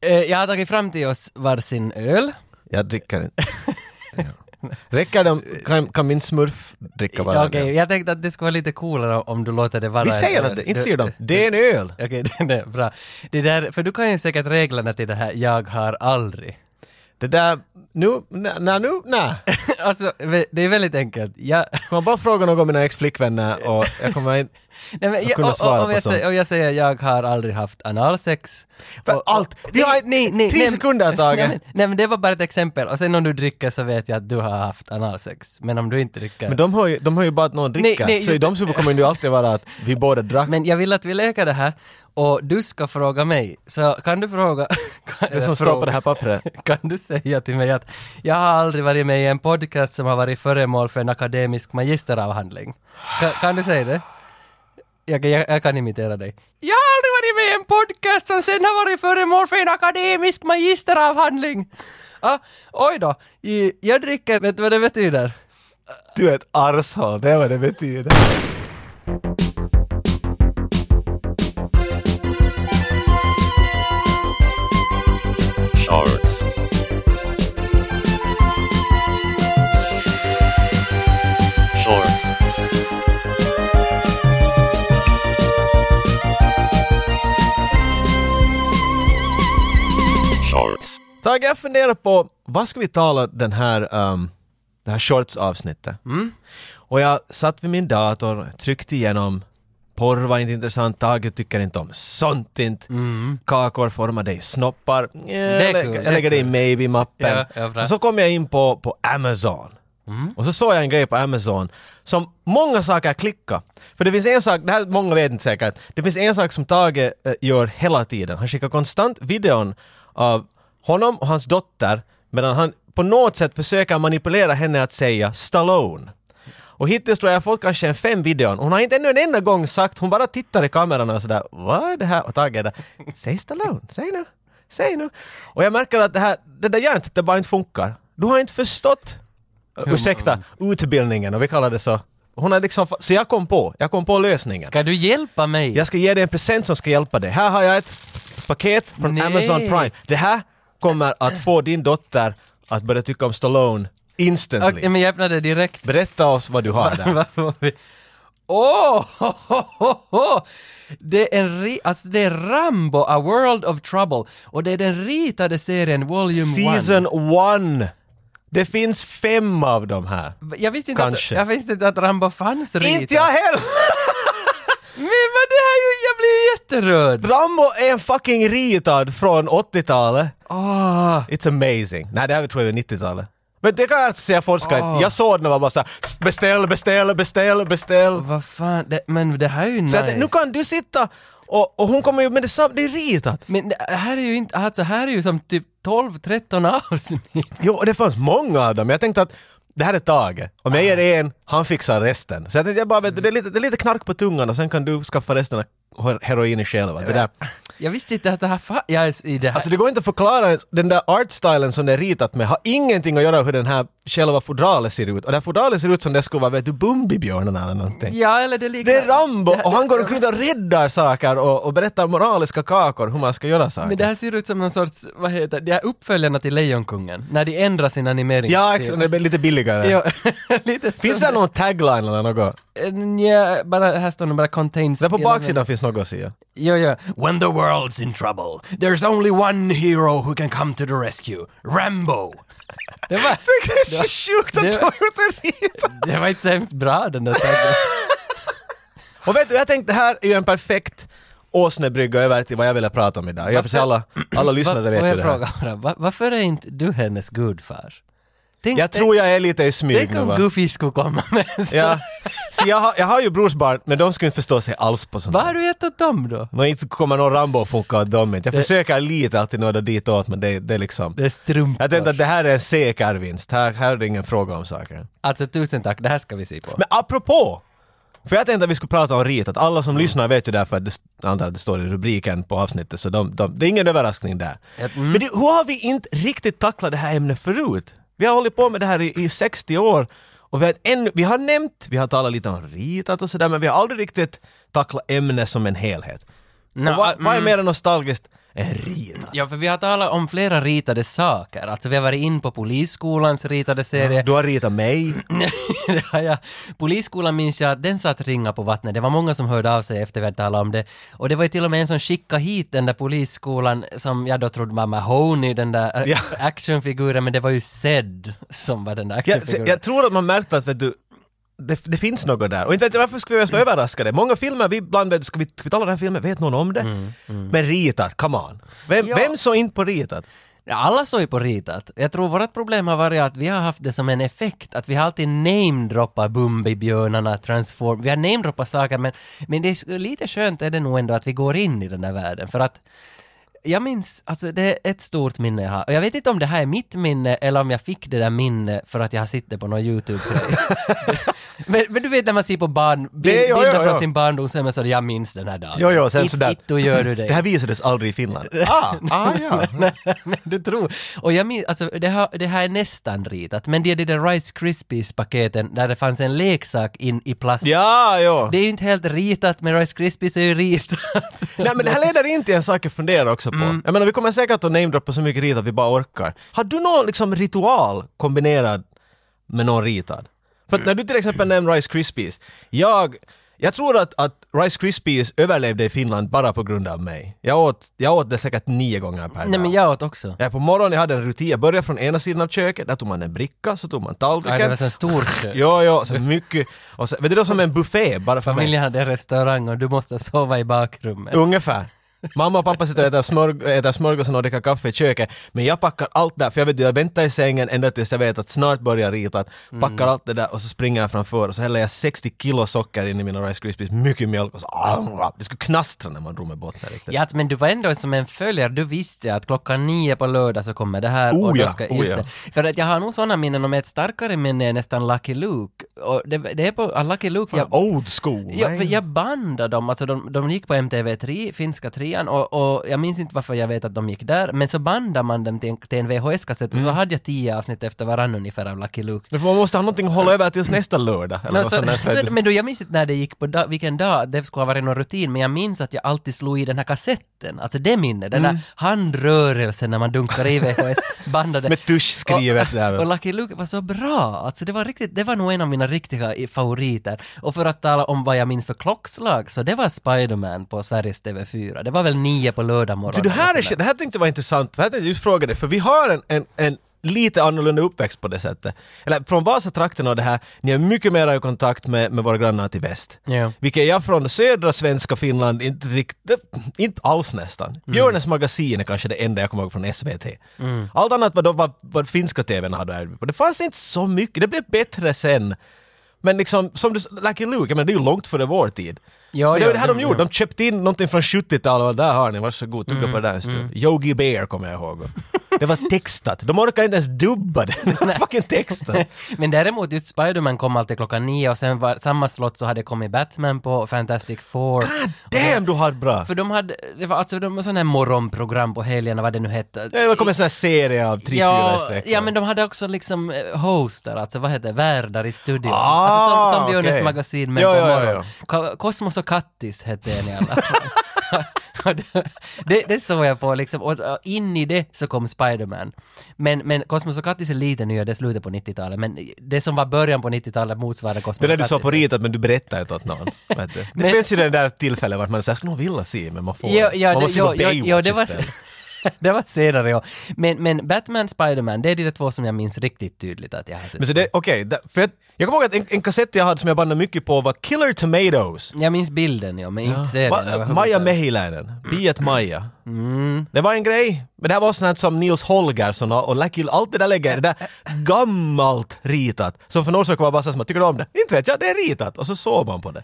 Eh, Jag har tagit fram till oss varsin öl. Jag dricker inte. Ja. Räcker de, kan, kan min smurf dricka Ja, varannan Okej, öl? jag tänkte att det skulle vara lite coolare om du låter det vara Vi en säger öl. att det, inte Du- säger de. Det är en öl! Okej, det är bra. Det där, för du kan ju säkert reglerna till det här ”jag har aldrig”. Det där, nu, nej, nej, nu, nej. alltså, ve- det är väldigt enkelt. Jag, Kommer bara fråga någon av mina ex-flickvänner och jag kommer inte... nej, men, jag, kunna svara om, på jag sånt. säger, om jag säger ”jag har aldrig haft analsex” För allt! Vi har tre nej, men- sekunder Nej, taget! men, nej men det var bara ett exempel. Och sen om du dricker så vet jag att du har haft analsex. Men om du inte dricker... Men de hör ju, de hör ju bara att någon dricker, nej, så i just de super kommer det ju alltid vara att vi båda drack. Men jag vill att vi leker det här och du ska fråga mig. Så kan du fråga... Kan, det som står på det här pappret. Kan du säga till mig att jag har aldrig varit med i en podcast som har varit föremål för en akademisk magisteravhandling? Kan, kan du säga det? Jag, jag, jag kan imitera dig. Jag har aldrig varit med i en podcast som sen har varit föremål för en akademisk magisteravhandling. Ah, oj då. I- Jag dricker, vet du vad det betyder? Du är ett arshål, det är vad det betyder. Shorts. Shorts. Shorts. Tage, jag funderar på, vad ska vi tala den här, um, det här shorts-avsnittet? Mm. Och jag satt vid min dator, tryckte igenom, porr var inte intressant, Tage tycker inte om sånt inte, kakor formar dig i snoppar, Eh, jag, kul, lägger, Mm. det är jag lägger det i maybe-mappen. Ja, ja, bra. Mm. och så kom jag in på, på Amazon. Och så såg jag en grej på Amazon som många saker klicka. För det finns en sak, det här många vet inte säkert, det finns en sak som Tage eh, gör hela tiden. Han skickar konstant videon av honom och hans dotter medan han på något sätt försöker manipulera henne att säga Stallone. Och hittills tror jag jag har fått kanske en fem videon. Hon har inte ännu en enda gång sagt, hon bara tittar i kameran och sådär Vad är det här? Och Tage är där, säg Stallone, säg nu, säg nu. Och jag märker att det här, det där hjärntvättet bara inte funkar. Du har inte förstått eh, ursäkta, utbildningen och vi kallar det så. Hon har liksom, så jag kom på, jag kom på lösningen. Ska du hjälpa mig? Jag ska ge dig en present som ska hjälpa dig. Här har jag ett paket från Nej. Amazon Prime. Det här kommer att få din dotter att börja tycka om Stallone instantly. Okej, men jag öppnade direkt. Berätta oss vad du har där. Vad var vi? Åh! ho, ho, ho, ho! Det är en ri- alltså det är Rambo, A World of Trouble. Och det är den ritade serien Volume 1. Season one! Det finns fem av de här. Jag visste inte, att, Kanske. jag visste inte att Rambo fanns ritad. Inte jag heller! Men vad det här är ju, jag blir jätterörd! Rambo är en fucking ritad från 80-talet. Åh! It's amazing. Nej, det här tror jag är 90-talet. Men det kan jag alltså säga forskare. Ah. Jag såg den och var bara såhär beställ, beställ, beställ, beställ. Vad fan, det, men det här är ju Så nice. att, nu kan du sitta och, och hon kommer ju med detsamma, det är ritat. Men det här är ju inte, alltså här är ju som typ 12-13 avsnitt. Jo, och det fanns många av dem. Jag tänkte att det här är Tage. Om jag ger en, han fixar resten. Så jag tänkte jag bara, vet du, det är lite, det är lite knark på tungan och sen kan du skaffa resten av her- heroin i själva. Det där. Jag visste inte att det här fanns, jag är i det här. Alltså det går inte att förklara, ens. den där artstylen som det är ritat med har ingenting att göra med hur den här själva fodralet ser ut. Och det här fodralet ser ut som det skulle vara, vet du, Bumbibjörnarna eller någonting. ja, eller det liknar... Det är Rambo och han går omkring och räddar saker och, och berättar moraliska kakor hur man ska göra saker. Men det här ser ut som någon sorts, vad heter det, här uppföljarna till Lejonkungen, när de ändrar sin animering. Ja, exakt, det blir lite billigare. Ja, lite Finns som, det någon tagline eller något? Nja, bara, här står nog bara contains... Där på baksidan finns något ser jag. Jo, jo. When the world's in trouble, there's only one hero who can come to the rescue, Rambo. Det var, Det är så sjukt att det- du har gjort en vit! det var inte så hemskt bra den där saken. Och vet du, jag tänkte det här är ju en perfekt åsnebrygga över till vad jag ville prata om idag. Jag för sig alla, alla lyssnare Får vet ju jag det här. fråga bara, va, varför är inte du hennes gudfar? Tänk, Jag tror jag är lite i smyg tänk nu om va? Goofy skulle komma med en sån- Ja. Så jag, har, jag har ju brorsbarn, men de skulle inte förstå sig alls på sånt Vad har här. du gett åt dem då? Nå, inte kommer någon Rambo att funka åt dem inte. Jag försöker lite alltid nåda ditåt, men det, det är liksom... Det är strumpor. Jag tänkte att det här är en säker vinst. Här, här är det ingen fråga om saker. Alltså tusen tack, det här ska vi se på. Men apropå! För jag tänkte att vi skulle prata om ritat. Alla som lyssnar vet ju därför att det, st- jag antar att det står i rubriken på avsnittet, så de, de, det är ingen överraskning där. Men det, hur har vi inte riktigt tacklat det här ämnet förut? Vi har hållit på med det här i, i 60 år och vi har, ännu, vi har nämnt, vi har talat lite om ritat och sådär, men vi har aldrig riktigt tacklat ämnet som en helhet. Nå, och vad, vad är mer nostalgiskt En rita. Ja, för vi har talat om flera ritade saker. Alltså vi har varit in på Polisskolans ritade serie. Du har ritat mig. det har jag. Polisskolan minns jag att den satt ringa på vattnet. Det var många som hörde av sig efter vi hade talat om det. Och det var ju till och med en som skickade hit den där polisskolan som jag då trodde var Mahoney, den där äh, Ja. actionfiguren, men det var ju Zed som var den där Jag, actionfiguren. jag tror att man märkte att vet du, det, det finns något där. Och inte vet jag varför skulle Mm. vi ens vara överraskade. Många filmer, vi ibland vet, ska vi, ska vi tala om den här filmen, vet någon om det? Mm, Men ritat, come on. Vem, Ja. vem såg inte på ritat? Ja, Alla står ju på ritat. Jag tror vårt problem har varit att vi har haft det som en effekt, att vi har alltid namedroppat Bumbibjörnarna, Transform, vi har namedroppat saker men, men det är s- lite skönt är det nog ändå att vi går in i den där världen för att jag minns, alltså det är ett stort minne jag har. Och jag vet inte om det här är mitt minne eller om jag fick det där minne för att jag har sett det på någon YouTube-grej. men, men du vet när man ser på barn, Det- ja, bilder ja, från ja. sin barndom så är man sådär, jag minns den här dagen. Jo, jo, sen It- sådär. It, då gör du det. Det här visades aldrig i Finland. Ah, ah ja. Nej, nej, du tror. Och jag minns, alltså det här, det här är nästan ritat, men det är de där Rice Krispies-paketen där det fanns en leksak in i plast. Ja, ja. Det är ju inte helt ritat, men Rice Krispies är ju ritat. Nej men det här leder in till en sak jag funderar också på. Mm. Jag menar vi kommer säkert att namedroppa så mycket rit att vi bara orkar. Har du någon liksom ritual kombinerad med någon ritad? För att när du till exempel Mm. nämner Rice Krispies, jag, jag tror att, att Rice Krispies överlevde i Finland bara på grund av mig. Jag åt, jag åt det säkert nio gånger per dag. Nej, men jag åt också. Jag på morgonen, jag hade en rutin, jag började från ena sidan av köket, där tog man en bricka, så tog man Ja, det var tallriken. så en stor kö. Ja, ja, så mycket. Och så, vet du, det var som en buffé bara för mig. Familjen hade en restaurang och du måste sova i bakrummet. Ungefär. Mamma och pappa sitter och äter, smörg- äter smörgåsen och dricker kaffe i köket. Men jag packar allt där, för jag vet ju, jag väntar i sängen ända tills jag vet att snart börjar ritat. Mm. Packar allt det där och så springer jag framför och så häller jag 60 kilo socker in i mina Rice Krispies, mycket mjölk och så... ah, Det skulle knastra när man drog med botten riktigt. Ja, men du var ändå som en följare, du visste att klockan nio på lördag så kommer det här och Oh då ja, ska, oh just ja. det. För att jag har nog sådana minnen, om ett starkare minne är nästan Lucky Luke. Och det, det är på, ah, Lucky Luke, jag, Old school! Ja, man. för jag bandade dem, alltså de, de gick på MTV3, finska trean, och, och jag minns inte varför jag vet att de gick där, men så bandade man dem till en, till en VHS-kassett och så hade jag tio avsnitt efter varann ungefär av Lucky Luke. Men för man måste ha någonting att hålla över tills nästa lördag. Eller Nå, något så, sånt där. så, men då, jag minns inte när det gick på da, vilken dag, det skulle ha varit någon rutin, men jag minns att jag alltid slog i den här kassetten, alltså det minnet, den där handrörelsen när man dunkar i VHS-bandade. Med tuschskrivet där. Och Lucky Luke var så bra, alltså det var riktigt, det var nog en av mina riktiga i- favoriter. Och för att tala om vad jag minns för klockslag, så det var Spiderman på Sveriges TV4. Det var väl nio på lördag morgon. Så Alltså, det här, eller är, sådär. shit, det här tänkte jag var intressant, för jag tänkte just fråga dig, för vi har en, en, en lite annorlunda uppväxt på det sättet. Eller från Vasatrakten och det här, ni är mycket mer i kontakt med, med våra grannar till väst. Ja. Vilket jag från södra svenska Finland inte riktigt, inte alls Mm. nästan. Björnes magasin är kanske det enda jag kommer ihåg från SVT. Mm. Allt annat var, då, vad, vad finska TVn hade att erbjuda. Och Det fanns inte så mycket, det blev bättre sen. Men liksom, som du, s- Lucky Luke, jag menar, det är ju långt före vår tid. Ja, Men det ja, var det här de det- gjorde, de köpte in någonting från 70-talet och där har ni, varsågod, tugga på det där en Mm, stund. Yogi Bear kommer jag ihåg. Det var textat, de orkade inte ens dubba det. Det var fucking textat. Men däremot just Spiderman kom alltid klockan nio och sen var, samma slott så hade kommit Batman på Fantastic Four. Damn, du har det bra! För de hade, det var alltså de var sådana här morgonprogram på helgerna, vad det nu hette. Det kom en sån här serie av tre, fyra Ja, streck. ja, men de hade också liksom eh, hoster, alltså vad heter det, värdar i studion. Ah, alltså som, som Björnes okej. magasin, men Ja, på ja, ja, morgonen. Ka- Kosmos och Kattis hette den i alla fall. Och det- det, det såg jag på liksom, och och in i det så kom Spiderman. Men, men Kosmos och Kattis är lite nyare, det är slutet på 90-talet, men det som var början på 90-talet motsvarar Kosmos Det där och du sa på Kattis. ritat men du berättar inte åt någon. vet du. Det Men- finns ju det där tillfället vart man säger, skulle nog vilja se men man får Ja, inte. ja, Man det, måste se ja, på ja, Baywatch ja, det var... istället. det var senare, ja. Men, men Batman, Spiderman, det är de där två som jag minns riktigt tydligt att jag har sett. Men så det, okej, där- för jag, jag kommer ihåg att en, en kassett jag hade som jag bandade mycket på var Killer Tomatoes. Jag minns bilden ja, men inte serien Va, överhuvudtaget. Maja Mehiläinen, Biet Maja. Det var en grej, men det här var sånt som Nils Holgersson och och Lucky allt det där lägger, det där gammalt ritat. Som för några saker var bara såhär, tycker du om det? Inte vet jag, det är ritat. Och så såg man på det.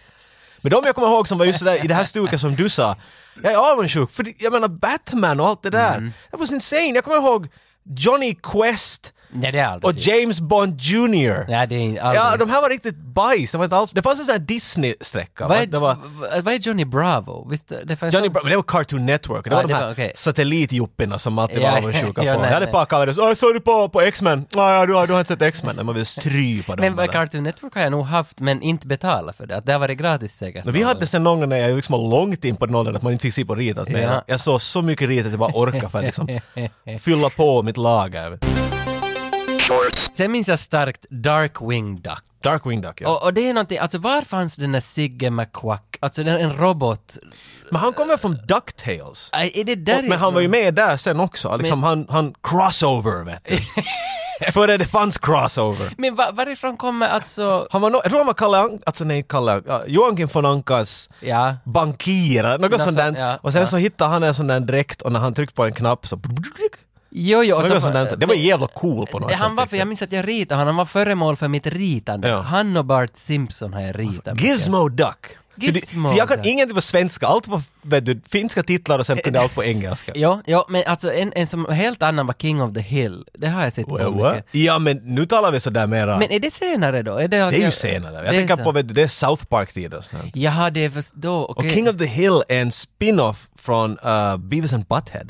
Men de jag kommer ihåg som var just sådär i det här stuket som du sa, jag är avundsjuk, Mm. för det- jag menar Batman och allt det där. Det var insane, jag kommer ihåg Johnny Quest, Nej, det är aldrig Och James Bond Jr. Nej, det är inte aldrig. Ja, de här var riktigt bajs. Det, var inte alls, det fanns en sån här vad, Disney-sträcka. va? är, Det var, v- vad är Johnny Bravo? Visst, det fanns Johnny någon- Bra- men det var Cartoon Network. Det Ja, var de det här var- okej. satellitjuppina som alltid Ja, var avundsjuka ja, på. nej, Jag hade ett nej. par kaverer. Såg du på, på X-Men? Ja, ja, du, har- du har inte sett X-Men. Nej, Man vill strypa dem. Men bara. vad Cartoon Network har jag nog haft, men inte betalat för det. Att där var det gratis säkert. Men vi hade sen någon gång när jag liksom var långt in på den åldern att man inte fick se på ritat mer. Ja. Jag såg så mycket ritat att jag bara orkade för att liksom fylla på mitt lager. Shorts. Sen minns jag starkt Darkwing Duck. Darkwing Duck, ja. Och, och det är någonting, alltså var fanns den där Sigge McQuack? Alltså den, en robot. Men han kommer från DuckTales. Äh, är det där? Men han var ju med där sen också. Liksom han, han crossover, vet du. Före det fanns crossover. Men va, varifrån kommer alltså... Han var no- jag tror han var Kalle An- alltså nej Kalle, uh, Joakim von Ankas Ja. bankir, eller något Något sånt, sånt där. Alltså, ja, och sen ja. så hittade han en sån där dräkt och när han tryckte på en knapp så... Jo, jo. och så- Något sånt där. Det var jävla cool på något Det sätt. han var, för jag minns att jag ritade honom, han var föremål för mitt ritande. Ja. Han och Bart Simpson har jag ritat. Gizmo Duck. Gizmo så det, så jag kan Duck. ingenting på svenska, allt var vet du, finska titlar och sen kunde allt på engelska. Ja, ja, men alltså en, en som helt annan var King of the Hill. Det har jag sett på Well, what? mycket. Ja men nu talar vi sådär mera, Men är det senare då? Är det, det är ju senare. Jag tänker på vet du, det är South Park-tider. Jaha, det är först då. Och Okej. King of the Hill är en spin-off från uh, Beavis and Butthead.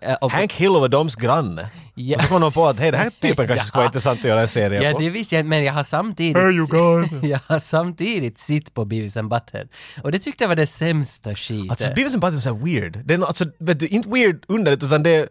Äh, och- Hank Hill var doms granne. Ja. Och så kom de på att hej, den här typen kanske skulle vara intressant att göra en serie Ja, på. det visste jag inte, men jag har samtidigt... Hey, you guys. jag har samtidigt sitt på Beavis and Butthead. Och det tyckte jag var det sämsta skiten. Alltså Beavis and Butthead är så här weird. Det är nå- alltså, vet du, inte weird underligt utan det är,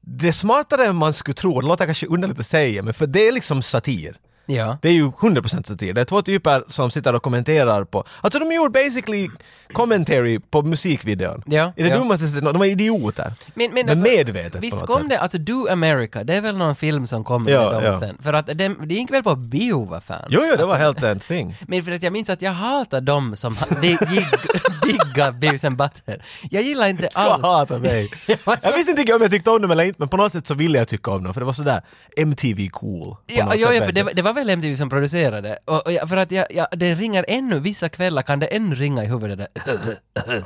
det är smartare än man skulle tro. Det låter kanske underligt att säga men för det är liksom satir. ja. Det är ju 100% satir. Det är två typer som sitter och kommenterar på... Alltså de gjorde basically commentary på musikvideon. Ja, I det ja. dummaste sättet, de är idioter. Men, men, medvetet på Visst något kom sätt. det, alltså Do America, det är väl någon film som kom Ja, med dem ja. sen? För att den, det gick väl på bio, vad fan? Jo, jo, det var Alltså, helt en thing. Men för att jag minns att jag hatar dem som de diggar Beavis and Butthead. Jag gillar inte Du alls. hatar mig. alltså- Jag visste inte om jag tyckte om dem eller inte men på något sätt så ville jag tycka om dem för det var sådär MTV cool. på Ja, något ja, sätt, ja, för vet det, du. var- det var väl MTV som producerade. Och, och jag, för att jag, jag, det ringer ännu, vissa kvällar kan det ännu ringa i huvudet där.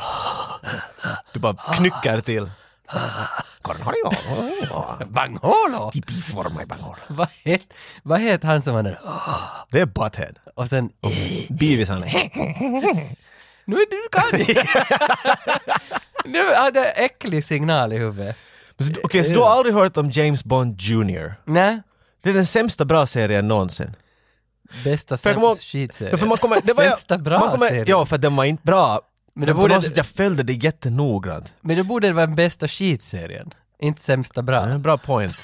Du bara knycker till. Karin har jag. Bangholo! Tipi för mig bangar. Vad het, vad het han som var den? Det är Butthead. Och sen, Beavis han. nu är du kan Nu hade jag äcklig signal i huvudet. Men så- Okej, så du har aldrig hört om James Bond Jr. Nej, Det är den sämsta bra serien någonsin. bästa jag kommer ihåg- sämst skitserie. Ja, för man kommer, det var jag- Sämsta bra man kommer, serie. Ja, för den var inte bra. Men det det borde- borde... Jag följde det jättenoggrant. Men då borde det vara den bästa skitserien. Inte sämsta bra. Ja, en Eh, bra point.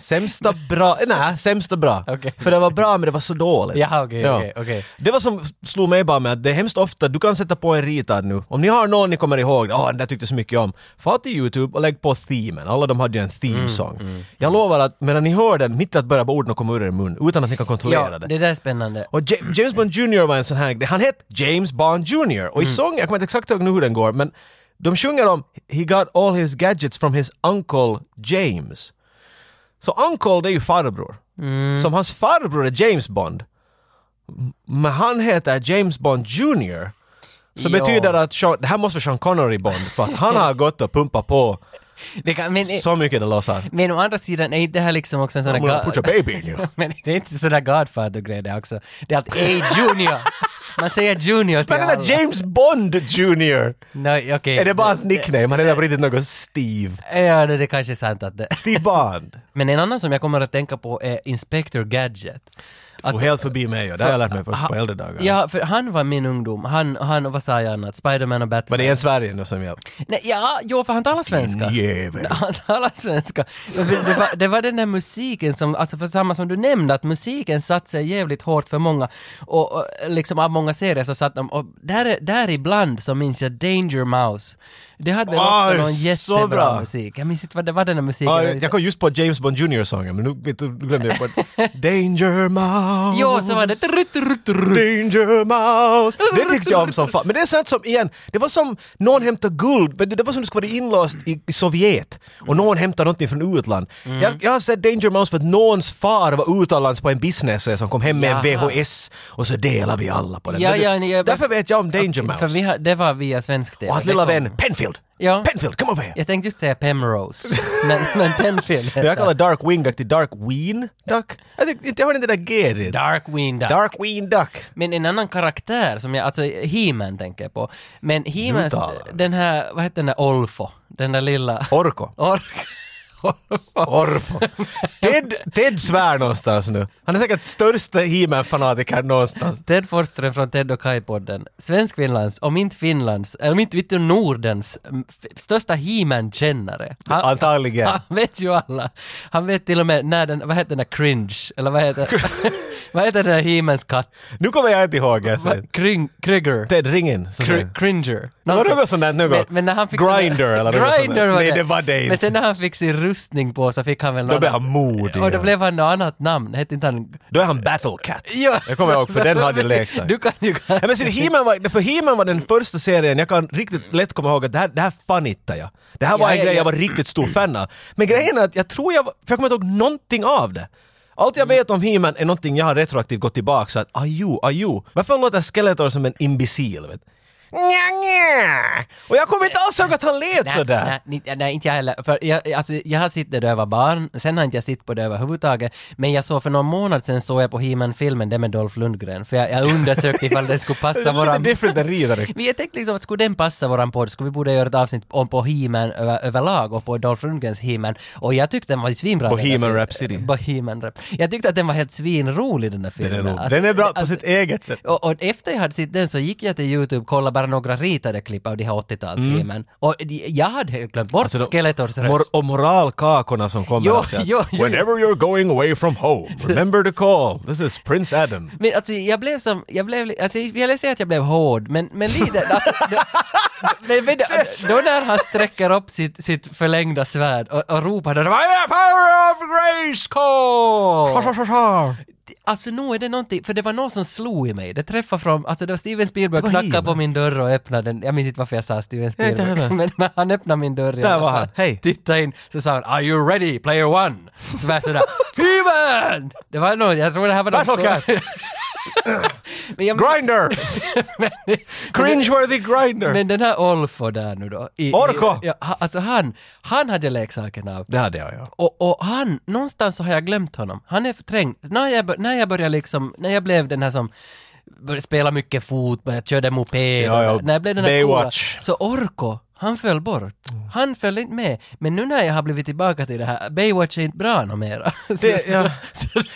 Sämsta bra, eh, nej, sämsta bra. Okej. För det var bra men det var så dåligt. Jaha, okej, okej, okej. Det var som slog mig bara med att det är hemskt ofta, du kan sätta på en ritad nu. Om ni har någon ni kommer ihåg, åh den där tyckte jag så mycket om. Få till YouTube och lägg på themen. Alla de hade ju en Mm, theme song. jag lovar att medan ni hör den, mitt i att börja på orden och komma ur er mun utan att ni kan kontrollera Ja, det. det där är spännande. Och Ja- James Bond Jr var en sån här, han hette James Bond Jr. Och i sång, jag kommer inte exakt ihåg nu hur den går, men de sjunger om “He got all his gadgets from his uncle James”. Så uncle, det är ju farbror. Som hans farbror är James Bond. M- Men han heter James Bond Jr. Som Ja. betyder att Sean, det här måste vara Sean Connery Bond, för att han har gått och pumpat på Det kan, men, så mycket det låtsas. men å andra sidan är inte det här liksom också en sån där... I'm gonna ga- put a baby in you. Men det är inte sådär Godfather-grej det också. Det är att ey Junior! Man säger Junior till Men den alla. där James Bond Jr. Nej, okej. Är det bara hans nickname? Han heter på riktigt något Steve. Ja, det det kanske är sant att det... Steve Bond. Men en annan som jag kommer att tänka på är Inspector Gadget. Alltså, helt förbi mig och det har jag lärt mig först på äldre dagar. Ja, för han var min ungdom. Han, han och vad sa jag annat? Spiderman och Batman. Men det är en Sverige nu som jag... Nej, ja, jo, för han talar svenska. Jävel. Han talar svenska. Men Det det var, det var den där musiken som, alltså för samma som du nämnde, att musiken satt sig jävligt hårt för många. Och, och liksom av många serier så satt de, och där, där ibland så minns jag Danger Mouse. Det hade väl Åh, också någon Ah, så jättebra bra. musik. Jag minns inte vad det var den där musiken. Ja, jag kom just på James Bond Jr-sången men nu vet du, nu glömde jag bort... Danger Mouse. Jo, så var det... Danger Mouse. Det tyckte jag om som fan. Men det är sånt som igen, det var som någon hämtar guld. Vet du, det var som du skulle vara inlåst i, i Sovjet och någon hämtar någonting från utland. Jag, jag har sett Danger Mouse för att någons far var utomlands på en business som kom hem med Jaha. en VHS och så delar vi alla på den. Ja, Vet du, ja, ni- så därför vet jag om Danger Mouse. För vi har, det var via svensk TV. Och hans Det lilla kom. vän Penfield Penfield! Ja. Penfield, kom över här! Jag tänkte just säga Pemrose, men, men Penfield För jag heter- kallar Dark Wing Duck till Dark Ween Duck. Jag, tyckte, inte- jag har inte det där G dit. Darkwing Duck. Dark Ween Duck. Men en annan karaktär som jag, alltså He-Man tänker jag på. Men Nu He-Man, talar den här, vad heter den där Olfo? Den där lilla... Orko. Ork. Olfo. Orfo. Ted, Ted svär någonstans nu. Han är säkert största He-Man-fanatiker någonstans. Ted Forsström från Ted och Kai-podden. Svensk-Finlands, om inte Finlands, eller om inte vet du Nordens, mm, f- största He-Man-kännare. Han, Antagligen. han vet ju alla. Han vet till och med när den, vad heter den där cringe, eller vad heter, vad heter den där He-Mans katt? Nu kommer jag inte ihåg. Jag säger. Kring, Krigger. Ted, ring in. så Cr- säger- cringer. var något sånt där, något. Men, men när han fick Grindr sin- eller något sånt Grindr där. var Nej, det. det var det inte. Men sen när han fick sin rustning på så fick han väl Då något blev han annat- modig. Och då blev han något annat namn. Hette inte han... Då är han Battle Cat. Ja, Jag kommer så- ihåg, för den hade men leksaker. Du kan ju... Ja, men sen He-Man var, för He-Man var den första serien, jag kan riktigt lätt komma ihåg att det här, det här fanittade jag. Det här Mm. var Ja, en ja, grej ja. jag var riktigt stor fan av. Men grejen är att jag tror jag, var- för jag kommer inte ihåg någonting av det. Allt Mm. jag vet om He-Man är någonting jag har retroaktivt gått tillbaka så att ajo, ajo. Varför låter Skeletor som en imbecil? Vet? Nja, nja. Och jag kommer inte alls ihåg att han lät sådär. Nej, nej, nej, nej, inte jag heller. För jag, alltså, jag har sett det då jag var barn, sen har inte jag sett på det överhuvudtaget. Men jag såg för någon månad sen såg jag på He-Man-filmen, det med Dolph Lundgren. För jag, jag undersökte ifall det skulle Det passa är våra lite different än ridare. Men jag tänkte liksom att skulle den passa våran podd skulle vi borde göra ett avsnitt om på He-Man över, överlag och på Dolph Lundgrens He-Man. Och jag tyckte den var ju svinbra. den där Bohemian filmen. Rhapsody. Bohemian Rap. Jag tyckte att den var helt svinrolig den där Den är, filmen. nog- Alltså, den är bra på alltså, sitt eget sätt. och, och efter jag hade sett den så gick jag till Youtube och kollade bara några ritade klipp av de här 80-tals He-Man. Och de- jag hade helt glömt bort Mm. Alltså de- Skeletors Mor- röst. och moralkakorna som kommer. Jo, att- att jo, jo. Whenever you're going away from home, remember to call. This is Prince Adam. Men alltså jag blev som, jag blev, li- alltså jag vill säga att jag blev hård, men, men lite, alltså, då, men, men, då när han sträcker upp sitt, sitt förlängda svärd och, och ropar där, "By the power of Grayskull! Alltså nu är det någonting, för det var någon som slog i mig, det träffade från, alltså det var Steven Spielberg var knackade He-Man. på min dörr och öppnade den, jag minns inte varför jag sa Steven inte Spielberg, heller. men, men han öppnade min dörr i Där alla var han. fall. Hej. Tittade in, så sa han “Are you ready, player one?” Så var jag sådär “Fyman!” Det var nog, jag tror det här var Battle Cat. men jag, Grinder! Cringeworthy grinder! Men den här Olfo där nu då. i- Orko! i- ja, ha- alltså han, han hade leksaken av. det hade jag, ja. Och, och han, någonstans så har jag glömt honom. Han är förträngd. När jag, bör- när jag började liksom, när jag blev den här som började spela mycket fotboll, jag körde moped, Ja, ja. när jag blev den här Baywatch. coola, så Orko, han föll bort. Han föll inte med. Men nu när jag har blivit tillbaka till det här, Baywatch är inte bra numera. Det, ja.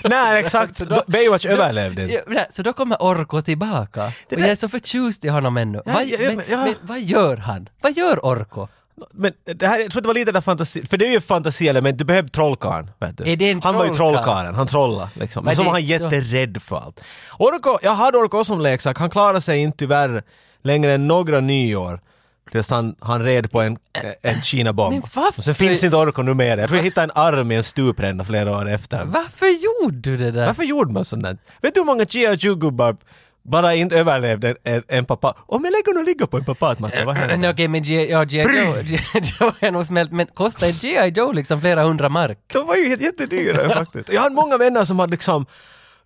Nej, exakt. Så då- Baywatch överlevde Ja, inte. men, så då kommer Orko tillbaka. Det och där- jag är så förtjust i honom ännu. Ja, vad, ja, men, men- ja. men vad gör han? Vad gör Orko? Men det här, jag tror det var lite där fantasi, för det är ju fantasielement, du behöver trollkarlen. Vet du. Är det en han var ju trollkarl? trollkarlen, han trollade liksom. Men Men så det var är han så- jätterädd för allt. Orko, jag hade Orko som leksak, han klarade sig inte tyvärr längre än några nyår. Tills han, han red på en, en Kina-bomb. Men varför- Och sen finns inte Orko numera. Jag tror jag hittade en arm i en stupränna flera år efter. Varför gjorde du det där? Varför gjorde man sånt där? Vet du hur många GHQ-gubbar bara inte överlevde en, en pappa? Om jag lägger och ligger på en pappatmatta, vad Men Okej, händer? men G- ja, G.I. Joe, G.I. Joe är nog smält, men kostar inte G.I. Joe liksom flera hundra mark? De var ju helt jättedyra faktiskt. Jag hade många vänner som hade liksom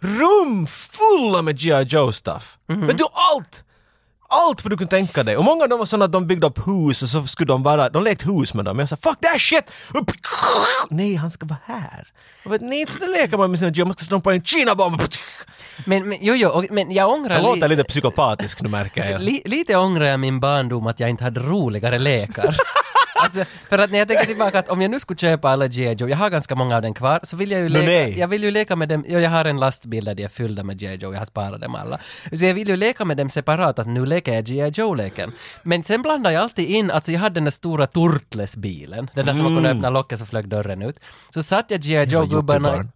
rum fulla med G.I. Joe-stuff. Vet du, allt! Allt vad du kunde tänka dig. Och många av dem var sådana att de byggde upp hus och så skulle de bara, de lekte hus med dem. Jag sa fuck that shit! Upp- Nej, han ska vara här. Jag vet, nej, så där leker man med sina G.I. Man ska stoppa en Kina-bomb. Men, men jo, jo, och- men jag ångrar Jag li- låter lite psykopatisk nu märker jag. li- lite ångrar jag min barndom att jag inte hade roligare lekar. Alltså, för att när jag tänker tillbaka att om jag nu skulle köpa alla G.I. Joe, jag har ganska många av den kvar, så vill jag ju leka, nej. jag vill ju leka med dem, jo, jag har en lastbil där de är fyllda med G.I. Joe, jag har sparat dem alla. Så jag vill ju leka med dem separat, att nu leker jag G.I. Joe-leken. Men sen blandar jag alltid in, alltså jag hade den där stora Turtles-bilen, den där som man kunde öppna locket så flög dörren ut. Så satt jag G.I. Joe-gubbarna, yuppiebarn.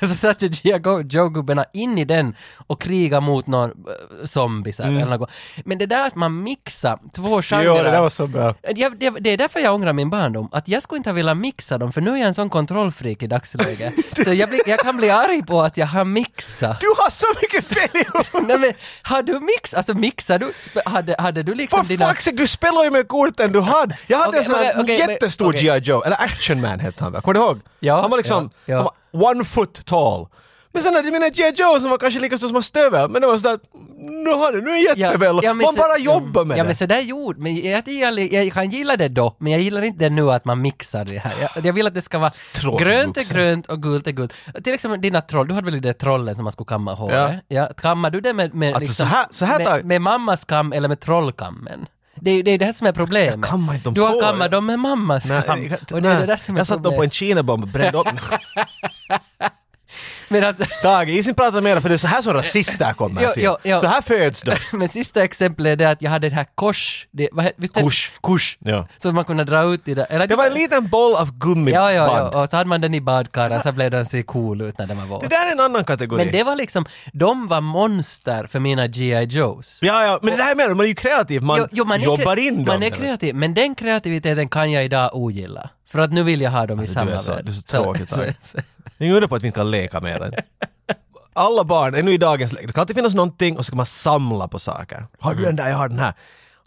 ja, så satt jag G.I. Go- Joe-gubbarna in i den och krigade mot någon eh, zombisar eller något. Men det där att man mixar två genrer. Mm. Jo, det där var så bra. Jag, det, det är därför jag ångrar min barndom, att jag skulle inte ha velat mixa dem, för nu är jag en sån kontrollfreak i dagsläget. så jag, blir- jag kan bli arg på att jag har mixat. Du har så mycket fel i huvudet! Nej men, har du mix, alltså mixar du, hade, hade du liksom For fuck's sake, du spelar ju med korten du hade! Jag hade Okej, en sån här okej, okej, men- jättestor okej. G.I. Joe, eller Action Man hette han väl? Kommer du ihåg? Ja, han var liksom ja, ja. Han var one foot tall. Men sen hade jag menar G.I. Joe som var kanske lika stor som en stövel, men det var sådär, nu har det, nu är det jätteväl, man så- bara jobbar med ja, det. men sådär gjorde, men jag, jag, jag kan gilla det då, men jag gillar inte det nu att man mixar det här. Jag, jag vill att det ska vara Tråkig grönt är vuxen. grönt och gult är gult. Till exempel dina troll, du hade väl det där trollen som man skulle kamma håret? Ja. kammar du det med, med, liksom Alltså, så här- så här tar- med, med mammas kam eller med trollkammen? Det är det, är det här som är problemet. Jag kammar inte de du har hår. kammat dem med mammas Nej, kam. jag- Och det är nej. det där som är jag satte dem på en problemet. kinabomb och brände upp dem. Men alltså, Tage, isen pratar mer för det är så här som rasister kommer Jo, till. jo, jo. Så här föds de. men sista exemplet är det att jag hade det här kors, det, vad, he- visst är det- Kors. kors. Ja. Så man kunde dra ut i det. Eller, Det var en liten boll av Ja, gummiband. ja, ja, och så hade man den i badkaret så blev den så cool ut när den var Det våt. där är en annan kategori. Men det var liksom, de var monster för mina G.I. Joes. Ja, ja, men det här menar du, man är ju kreativ, man, är jobbar kre- in dem. Man är kreativ, men den kreativiteten kan jag idag ogilla. För att nu vill jag ha dem i Alltså, du samma är så- värld. du är så tråkig, Tage. så- Jag undrar på att vi inte kan leka med den. Alla barn, ännu i dagens läge, det kan alltid finnas någonting och så kan man samla på saker. Har du den där? Jag har den här.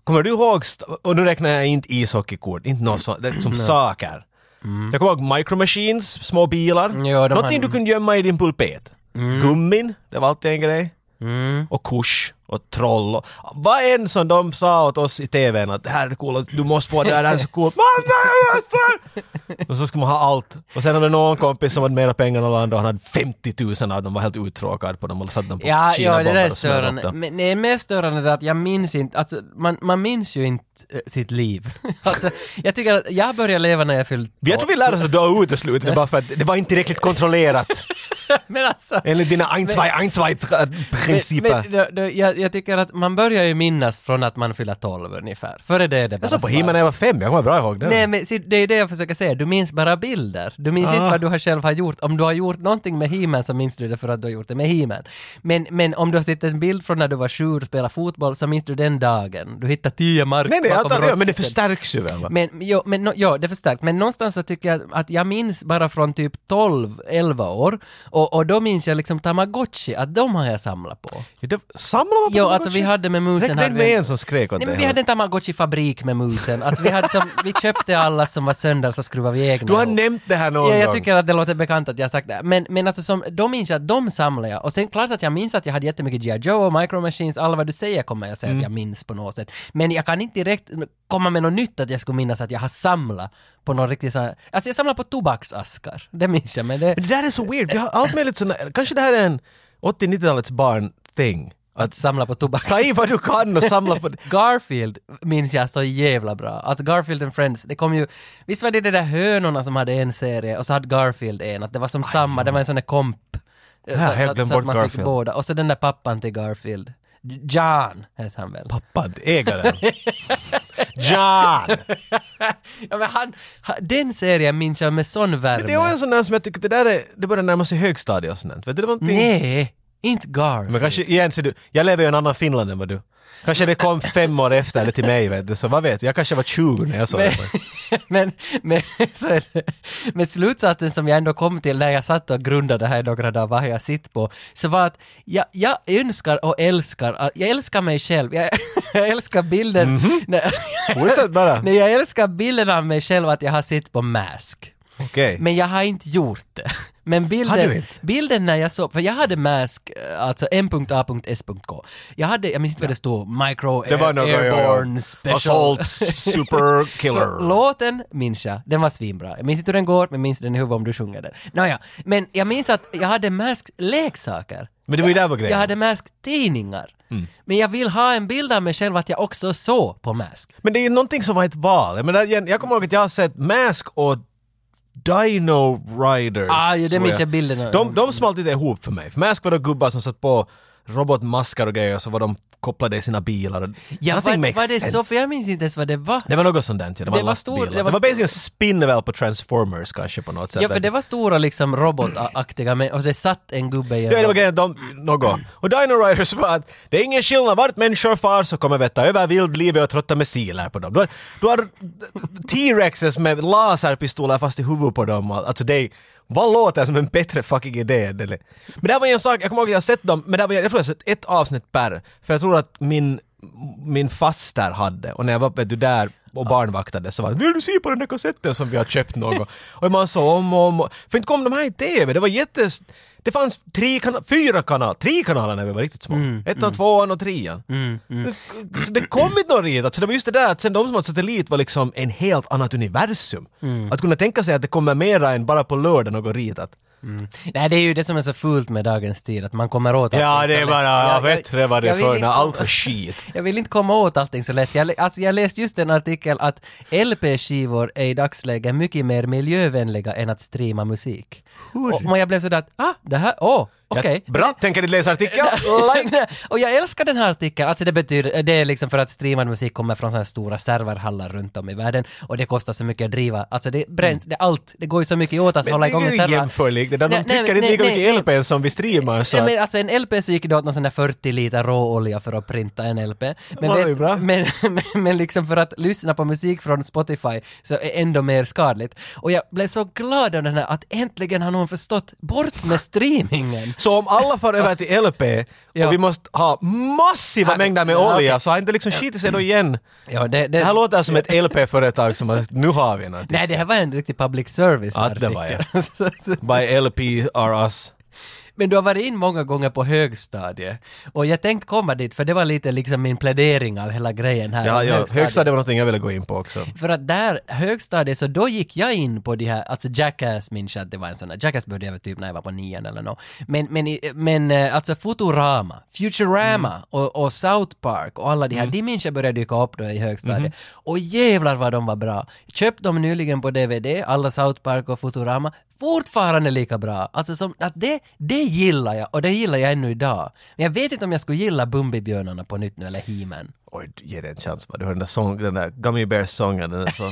Kommer du ihåg, st- och nu räknar jag inte ishockeykort, inte något sånt, det är som saker. Jag kommer ihåg micro machines, små bilar. Mm. Ja, de Mm. någonting hade- du kunde gömma i din pulpet. Gummin, det var alltid en grej. Och kurs och troll och vad än som de sa åt oss i TVn att det här är coolt, du måste få det här, det här är så coolt. Mamma, jag måste få det! Och så skulle man ha allt. Och sen hade någon kompis som hade mera pengar än alla andra och han hade 50 000 av dem var helt uttråkad på dem och satte dem på Ja, ja, det kinabomber där är och smörde upp störande. dem. Men det är mest störande är att jag minns inte, alltså man, man minns ju inte eh, sitt liv. alltså, jag tycker att jag började leva när jag fyllde Jag tror vi lärde oss att dra ut i slutet bara för att det var inte tillräckligt kontrollerat Men alltså, enligt dina Men- 1-2-1-2-principer. Men, då, då, jag, jag tycker att man börjar ju minnas från att man fyller 12 ungefär. Före det är det bara Jag såg på svart. himlen när jag var fem, jag kommer bra ihåg det. alltså- Nej men se, det är det jag försöker säga, du minns bara bilder. Du minns Ah. inte vad du har själv har gjort. Om du har gjort någonting med he så minns du det för att du har gjort det med he men, men om du har sett en bild från när du var sju och spelade fotboll så minns du den dagen. Du hittar tio mark nej, nej, jag bakom tar det, men det rostfisken. förstärks ju väl? va? Men, jo, men no, ja, det är förstärkt. Men någonstans så tycker jag att jag minns bara från typ 12, 11 år och, och då minns jag liksom Tamagotchi, att de har jag samlat på. Det- Samlar man på Jo, sådana alltså vi saker? hade med musen... Räckte hade inte med vi- en som skrek åt Nej dig? men vi hade en Tamagotchi-fabrik med musen. Alltså vi, hade som, vi köpte alla som var sönder så skruvade vi egna. Du har ihop. nämnt det här någon Ja, jag gång. tycker att det låter bekant att jag har sagt det. Men, men alltså som, de minns jag att de samlade jag. Och sen klart att jag minns att jag hade jättemycket G.I. Joe och Micro Machines. Alla vad du säger kommer jag Mm. säga att jag minns på något sätt. Men jag kan inte direkt komma med något nytt att jag skulle minnas att jag har samlat på någon riktig sån här... Alltså jag samlar på tobaksaskar. Det minns jag men det... Men det där är så weird, vi har allt möjligt såna, kanske det här är en 80-90-talets barn-thing. Att samla på tobak. Ta i vad du kan och samla på det. Garfield minns jag så jävla bra. Alltså Garfield and Friends, det kom ju... Visst var det de där hönorna som hade en serie och så hade Garfield en, att det var som samma, det var en sån där komp. Så, har helt glömt bort man fick Garfield. båda. Och så den där pappan till Garfield. J- John hette han väl? Pappan äger den. John! Ja, men han, han, den serien minns jag med sån värme. Det var en sån där som jag tycker, det där är, det börjar närma sig högstadiet och sånt. där. Vet du, det var någonting... Nej, inte Garfield. Men kanske, igen ser du, jag lever i en annan Finland än vad du. Kanske det kom fem år efter eller till mig vet du, så vad vet jag, jag kanske var 20 när jag såg det. men, men, så är det. men slutsatsen som jag ändå kom till när jag satt och grundade här i några dagar vad har jag sitt på, så var att jag, jag önskar och älskar, att- jag älskar mig själv, jag, jag älskar bilden, Mhm. när, Fortsätt bara. nej, jag älskar bilden av mig själv att jag har sitt på mask. Okej. Men jag har inte gjort det. Men Har du bilden, inte? bilden när jag såg, för jag hade mask, eh, alltså m.a.s.k. Jag hade, jag minns inte vad det stod, micro Det var air, något... airborne special. Assault super killer. Låten minns jag, den var svinbra. Jag minns inte hur den går, men minns den i huvudet om du sjunger den. Nåja, men jag minns att jag hade Mask leksaker. Men det var ju där var grejen. Jag hade Mask tidningar. Mm. Men jag vill ha en bild av mig själv att jag också såg på Mask. Men det är ju någonting som var ett val. Jag, menar, igen, jag kommer ihåg att jag har sett Mask och Dino Riders. Ah, ju, det tror minns jag bilden av. De, de smalt lite ihop för mig. För Mask var då gubbar som satt på robotmaskar och grejer och så var de kopplade i sina bilar. Och Ja, Nothing vad, makes var det sense. så? För jag minns inte ens vad det var. Det var något sånt där. Det var Det var stor- lastbilar. det Det var stor- var, basically en spinneväl på Transformers kanske på något sätt. Ja, för det var stora liksom robotaktiga, men, och det satt en gubbe i en Ja, det var robot. grejen, de, något. Och Dino Riders var att det är ingen skillnad, vart människor far så kommer vi ta över vildlivet och trötta missiler på dem. Du har, du har T-Rexes med laserpistoler fast i huvudet på dem. Alltså det är, vad låter som en bättre fucking idé? än det? Men det här var ju en sak, jag kommer ihåg att jag har sett dem, men det här var, ju- jag tror jag har sett ett avsnitt per, för jag tror att min min faster hade och när jag var vet du, där och barnvaktade så var det ”Vill du se på den där kassetten som vi har köpt något?” Och man såg om och om och- För inte kom de här i TV, det var jättes... Det fanns tre kana- fyra kanaler, tre kanaler när vi var riktigt små. Ettan, tvåan och trean. Det, så det kom inte någon riktigt. Så det var just det där att sen de som hade satellit var liksom en helt annat universum. Att kunna tänka sig att det kommer mera än bara på lördag något ritat. Mm. Nej, det är ju det som är så fult med dagens tid, att man kommer åt allting Ja, så det är lätt. bara, jag Jag- jag- vet det var det jag vill förr när inte- allt var skit. Jag vill inte komma åt allting så lätt. Jag, lä- alltså, jag läste just en artikel att LP-skivor är i dagsläget mycket mer miljövänliga än att streama musik. Och, och jag blev sådär att, ah, det här, åh, okej. Jag- Bra, tänker ni läsa artikeln? Like! och jag älskar den här artikeln, alltså det betyder, det är liksom för att streamad musik kommer från sådana här stora serverhallar runt om i världen och det kostar så mycket att driva, alltså det bränns, det allt, det går ju så mycket åt att Mm. Men hålla det igång en är ju server. jämförligt, det där de Nej, nej, trycker inte nej, lika nej, mycket nej. LP som vi streamar så Nej, att- men alltså en LP så gick det åt någon sån där 40 liter råolja för att printa en LP. Men, Ja, det är bra. men, men, men liksom för att lyssna på musik från Spotify så är ändå mer skadligt. Och jag blev så glad av den här att äntligen har någon förstått bort med streamingen. Så om alla far över till LP Ja. och vi måste ha massiva Ja, mängder med ja, okej. olja så har inte liksom skitit sig då igen. Ja, det, det, Det här låter som ett LP-företag som har, nu har vi något. Nej, det här var en riktig public service-artikel. Ja, det var Så- så- By LP are us. Men du har varit in många gånger på högstadiet. Och jag tänkte komma dit, för det var lite liksom min plädering av hela grejen här. Ja, om ja, högstadiet var någonting jag ville gå in på också. För att där, högstadiet, så då gick jag in på de här, alltså Jackass minns jag att det var en sån där, Jackass började jag väl typ när jag var på nian eller nå. Men, men, i- men eh, alltså Futurama, Futurama och, och South Park och alla de här, de minns jag började dyka upp då i högstadiet. Och jävlar vad de var bra. Köpte dem nyligen på DVD, alla South Park och Futurama, fortfarande lika bra. Alltså som, att det, det gillar jag och det gillar jag ännu idag. Men jag vet inte om jag skulle gilla Bumbibjörnarna på nytt nu eller He-Man. Oj, ge det en chans bara. Du hör den där, sång, den där Gummy Bears-sången, den är så...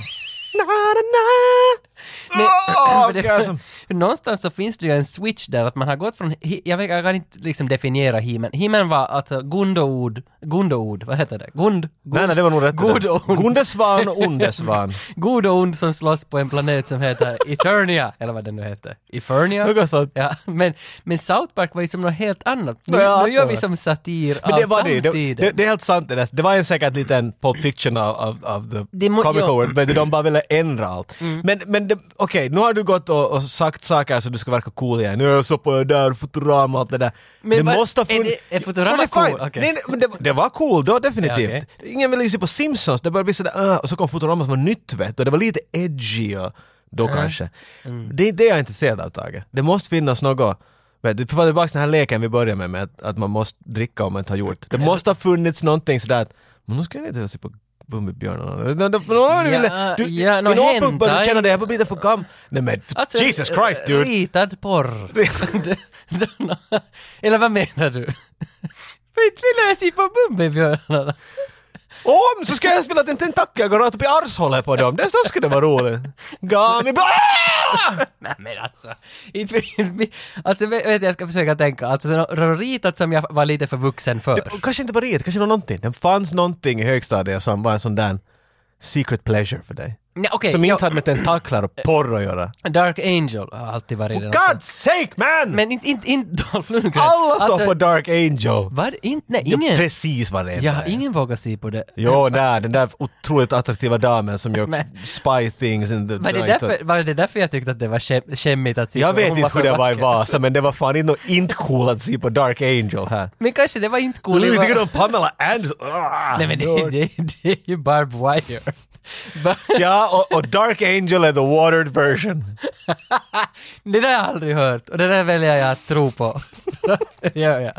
Men, Åh, för det- vilka som- för någonstans så finns det ju en switch där att man har gått från, He- jag, vet, jag kan inte liksom definiera himen. Himen var alltså Gundoord, Gundoord, vad heter det? Gund? Nej, nej, det var nog rätt. God det där. och ond. Gondesvan och Ondesvan. God och ond som slåss på en planet som heter Eternia, eller vad den nu heter. Eternia? Något sånt. Ja, men, men South Park var ju som något helt annat. Nu, Ja, nu gör det vi var- som satir Men av det var det. samtiden. Det, det, det är helt sant det där. Det var en säkert liten Pulp Fiction av, av, av the Det må- Mm. comic ja. world, men de bara ville ändra allt. Men, men det- okej, nu har du gått och, och sagt saker så du ska verka cool igen. Nu är jag så på det där, Futurama och allt det där. Men det vad- måste ha är funnits... det- är Futurama Jo, det är fine. cool? Okej. Nej, nej, men det, var- det var cool då, definitivt. Ja, Ingen ville se på Simpsons, det började bli sådär, "Ah", och så kom Futurama som var nytt vet du, och det var lite edgy och då kanske. Mm. Det är det jag är intresserad av Tage. Det måste finnas något Vet du, för att vara tillbaka till den här leken vi började med, med att, att man måste dricka om man inte har gjort. Det måste ha funnits någonting sådär att, men nu ska jag inte se på Bumbibjörnarna. De- de- de- de- de ville- Du, ja, vid nå, någon punkt började du hentai. känna dig, jag börjar bli lite för gam. Nej men, för- Alltså, Jesus Christ dude! Ritad porr. eller vad menar du? Inte vill jag se på Bumbibjörnarna. Om så ska jag spela att en tentakel går rakt upp i arshålet på dem, det så skulle det vara roligt. Gami... Ah! Nej men alltså, inte, inte, alltså vet vet jag, jag ska försöka tänka, alltså så något ritat som jag var lite för vuxen för. Det, kanske inte var det, det kanske var någonting. Det fanns någonting i högstadiet som var en sån där secret pleasure för dig. Nej, okej, som jag- inte hade med tentaklar och porr att göra. Dark Angel har alltid varit det. God's sake man! Men inte, inte, inte Dolph Lundgren. Alla såg Alltså, på Dark Angel. Vad? Inte? Nej, Ja, ingen. precis vad det är. Jag har ingen vågat se på det. Jo, där, den där otroligt attraktiva damen som gör Men- spy things in the Var det, night. därför, var det därför jag tyckte att det var kä- kämmigt att se Jag på? vet Hon inte för hur det var i vacker. Vasa, men det var fan inte, inte cool att se på Dark Angel här. Men kanske det var inte cool. Vad det du var- tycker om Pamela Anderson? Ah, Nej men det, Lord. det, det är ju Barb Wire. Bar- Ja, och, och Dark Angel är the watered version. det där har jag aldrig hört och det där väljer jag att tro på. det gör jag.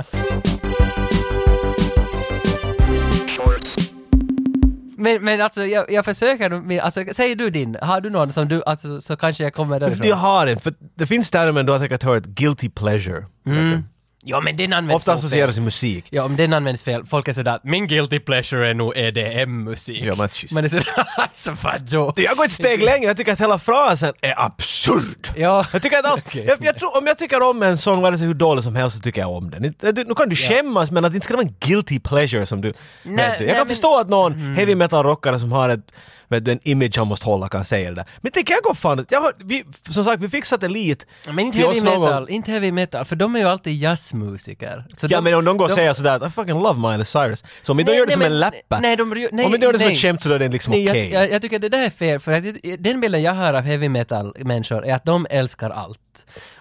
Men, men alltså jag, jag försöker, nu- alltså, säger du din, har du någon som du, alltså så kanske jag kommer Alltså, Jag därifrån. har en, för det finns termen du har säkert hört, guilty pleasure. Ja men den används Ofta nog fel. associeeras i musik. Ja, om den används fel, folk är sådär att min guilty pleasure är nog EDM-musik. Ja, men tyst. Man är sådär, alltså vadå? Jag går ett steg längre, jag tycker att hela frasen är absurd. Ja. Jag tycker att alls, Okej. jag, jag tror, om jag tycker om en sång, vare sig hur dålig som helst, så tycker jag om den. Inte- du- Nu kan du skämmas, men att det inte ska vara en guilty pleasure som du... vet du. Jag nej, kan men- Mm. förstå att någon heavy metal-rockare som har ett vet du, en image han måste hålla kan säga det där. Men tänk jag går fan jag, har- vi, Som sagt, vi fick satellit Men inte till heavy oss någon gång. metal, inte heavy metal, för de är ju alltid jazzmusiker. Så Ja men om någon går och de- säger sådär att I fucking love Miley Cyrus. Så om vi då Nej, gör det nej, som men- en läppa. nej, de gör- nej, om vi då gör det som nej. ett skämt så då är det liksom Nej, okej. jag, jag, jag tycker det där är fel, för att jag- den bilden jag har av heavy metal-människor är att de älskar allt.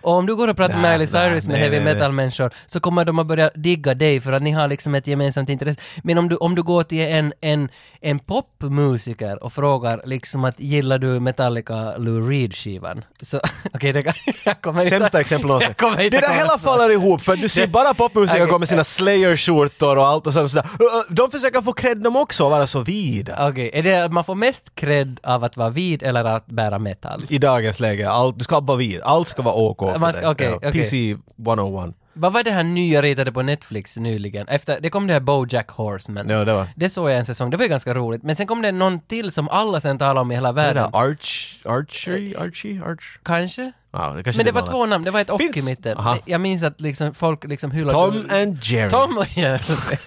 Och om du går och pratar Nej, med Miley nej, Cyrus med nej, heavy nej, nej. metal-människor så kommer de att börja digga dig för att ni har liksom ett gemensamt intresse. Men om du, om du går till en, en, en popmusiker och frågar liksom att gillar du Metallica Lou Reed-skivan? Så, okej, det kan, jag kommer inte- Sämsta exempel någonsin. jag kommer Det inte där komma hela på- faller ihop för att du ser bara popmusiker Okej. gå med sina Slayer-skjortor och allt och sånt. sådär. Ö, ö, De försöker få cred de också och vara så vida. Okej, är det att man får mest cred av att vara vid eller att bära metall? I dagens läge, allt, du ska vara vid. Allt ska vara OK för Man- dig. okej, Ja, okej. PC 101. Vad var det här nya ritade på Netflix nyligen? Efter, det kom det här Bojack Horseman. Ja, det var. Det såg jag en säsong, det var ju ganska roligt. Men sen kom det någon till som alla sen talar om i hela Är det världen. Arch... Archie? Archie? Arch... Kanske? Ja, det kanske Men det inte var två namn, det var ett och Finns- i mitten. Aha. Jag minns att liksom folk liksom hyllade... Tom and Jerry. Tom och Jerry.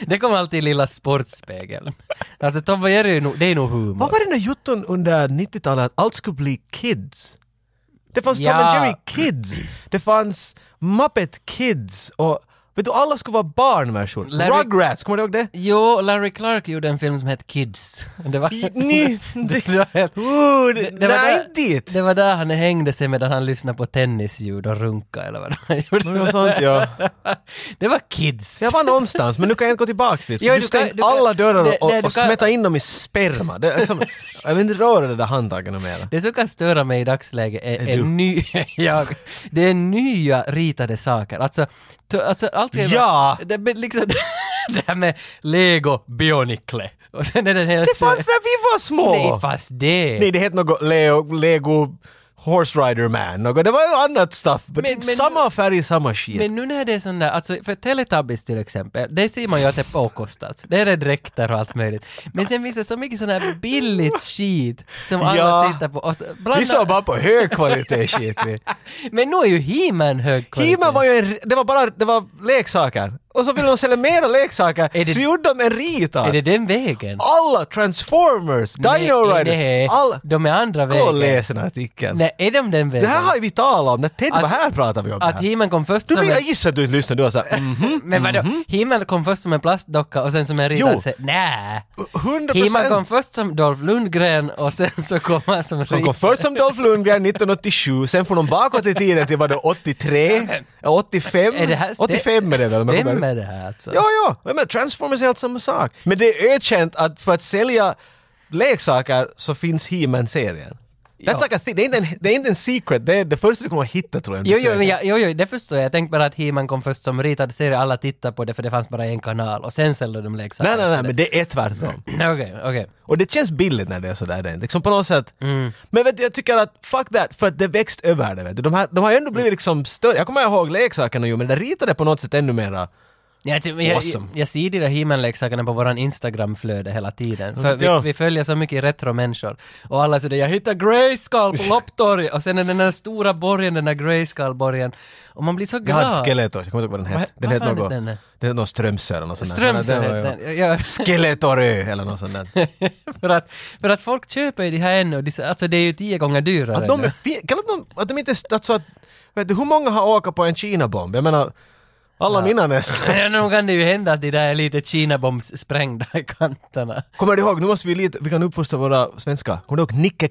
Det kom alltid i lilla Sportspegeln. Alltså Tom och Jerry, är nog- det är nog humor. Vad var den där jutton under 90-talet att allt skulle bli kids? Det fanns Tom Ja. and Jerry Kids, det fanns Muppet Kids och vet du, alla skulle vara barnversion. Larry- Rugrats, kommer du ihåg det? Jo, Larry Clark gjorde en film som hette Kids. Det var... Ni, det, det var helt... oh, det, det var nej, där- inte dit! Det var där han hängde sig medan han lyssnade på tennisljud och runka eller vad han gjorde. Något sånt, ja. Det var kids. Jag var någonstans, men nu kan jag inte gå tillbaka dit. för Jo, du du kan- stängde du kan- alla dörrar Nej, och, nej, du och kan- smeta in dem i sperma. Det, är som, jag vill inte röra det där handtaget något mer. Det som kan störa mig i dagsläget är, du? är, ny, jag, det är nya ritade saker. Alltså, t- alltså allt ska ju vara- Ja! Det, men liksom, det här med Lego Bionicle. Och sen är den hela... Det fanns när vi var små! Nej, fast det! Nej, det hette något Leo, Lego Horse Rider Man. Något. Det var ju annat stuff. Men, Men- men- samma färg, samma shit. Men nu när det är sån där, alltså för Teletubbies till exempel, det ser man ju att det är påkostat. Det är det dräkter och allt möjligt. Men sen finns det så mycket sån här billigt skit som alla Ja. tittar på. Och bland vi såg bara på högkvalitet shit. vi. Men nu är ju He-Man hög kvalitet. He-Man var ju en, det var bara, det var leksaker. Och så ville de sälja mera leksaker, Är det- så gjorde de en rita. Är det den vägen? Alla Transformers, Dino Nej, Rider, nej, alla... De är andra Gå och vägen. läs den här artikeln. Nej, är de den Det vägen? här har ju vi talat om, när Ted var Att- här pratade vi om det Att här. He-Man kom först Du, som men jag en... gissar att du inte lyssnar, du var såhär mhm, Men vadå? He-Man kom först som en plastdocka och sen som en Jo. ridare. sen- Nä! 100 He-Man kom procent. först som Dolph Lundgren och sen så kom han som Han kom ridare. först som Dolph Lundgren 1987, sen får de bakåt i tiden till vadå 83? 85? Är det här... stä- 85 är det väl? om jag kommer ihåg. Stämmer det här alltså? Ja, ja, men med Transformers är helt samma sak. Men det är ökänt att för att sälja leksaker så finns He-Man-serien. That's Ja. like a thing. Det, är inte en, det är inte en secret, det är det första du kommer att hitta tror jag. Jo, jo, men jag, jo, jo, det förstår jag. Jag tänkte bara att He-Man kom först som ritad serie, alla tittade på det för det fanns bara en kanal och sen sålde de leksaker. Nej, nej, nej, men det är tvärtom. Okej, okej. Och det känns billigt när det är sådär. Det. är Liksom på något sätt. Mm. Men vet du, jag tycker att fuck that, för att det växt över det. Vet du. De, här, de har ju ändå blivit liksom större. Jag kommer ihåg leksakerna ju, men det ritade på något sätt ännu mera. Jag, ty- jag, Awesome. jag, jag ser de där He-Man-leksakerna på våran Instagram-flöde hela tiden. För vi, Ja. vi följer så mycket retro-människor. Och alla säger jag hittar Grayskull på Lopptorget och sen är den där stora borgen, den där Grayskull-borgen. Och man blir så Jag hade glad. Skeletor, jag kommer inte ihåg vad den hette. Vad- Den vad fan hette något... hette den? Den hette något Strömsö eller något sånt där. Strömsö Den var- hette den. Jag- jag- Skeletorö eller något sånt där. för, att, för att folk köper ju de här ännu. De, alltså det är ju tio gånger dyrare. Att de nu. är fi- kan att de, att de inte, alltså att, vet du, hur många har åkat på en Kina-bomb? Jag menar, alla mina nästan. Ja, nog kan det ju hända att de där är lite Kinabombs sprängda i kanterna. Kommer du ihåg, nu måste vi lite, vi kan uppfostra våra svenskar. Kommer du ihåg Nicke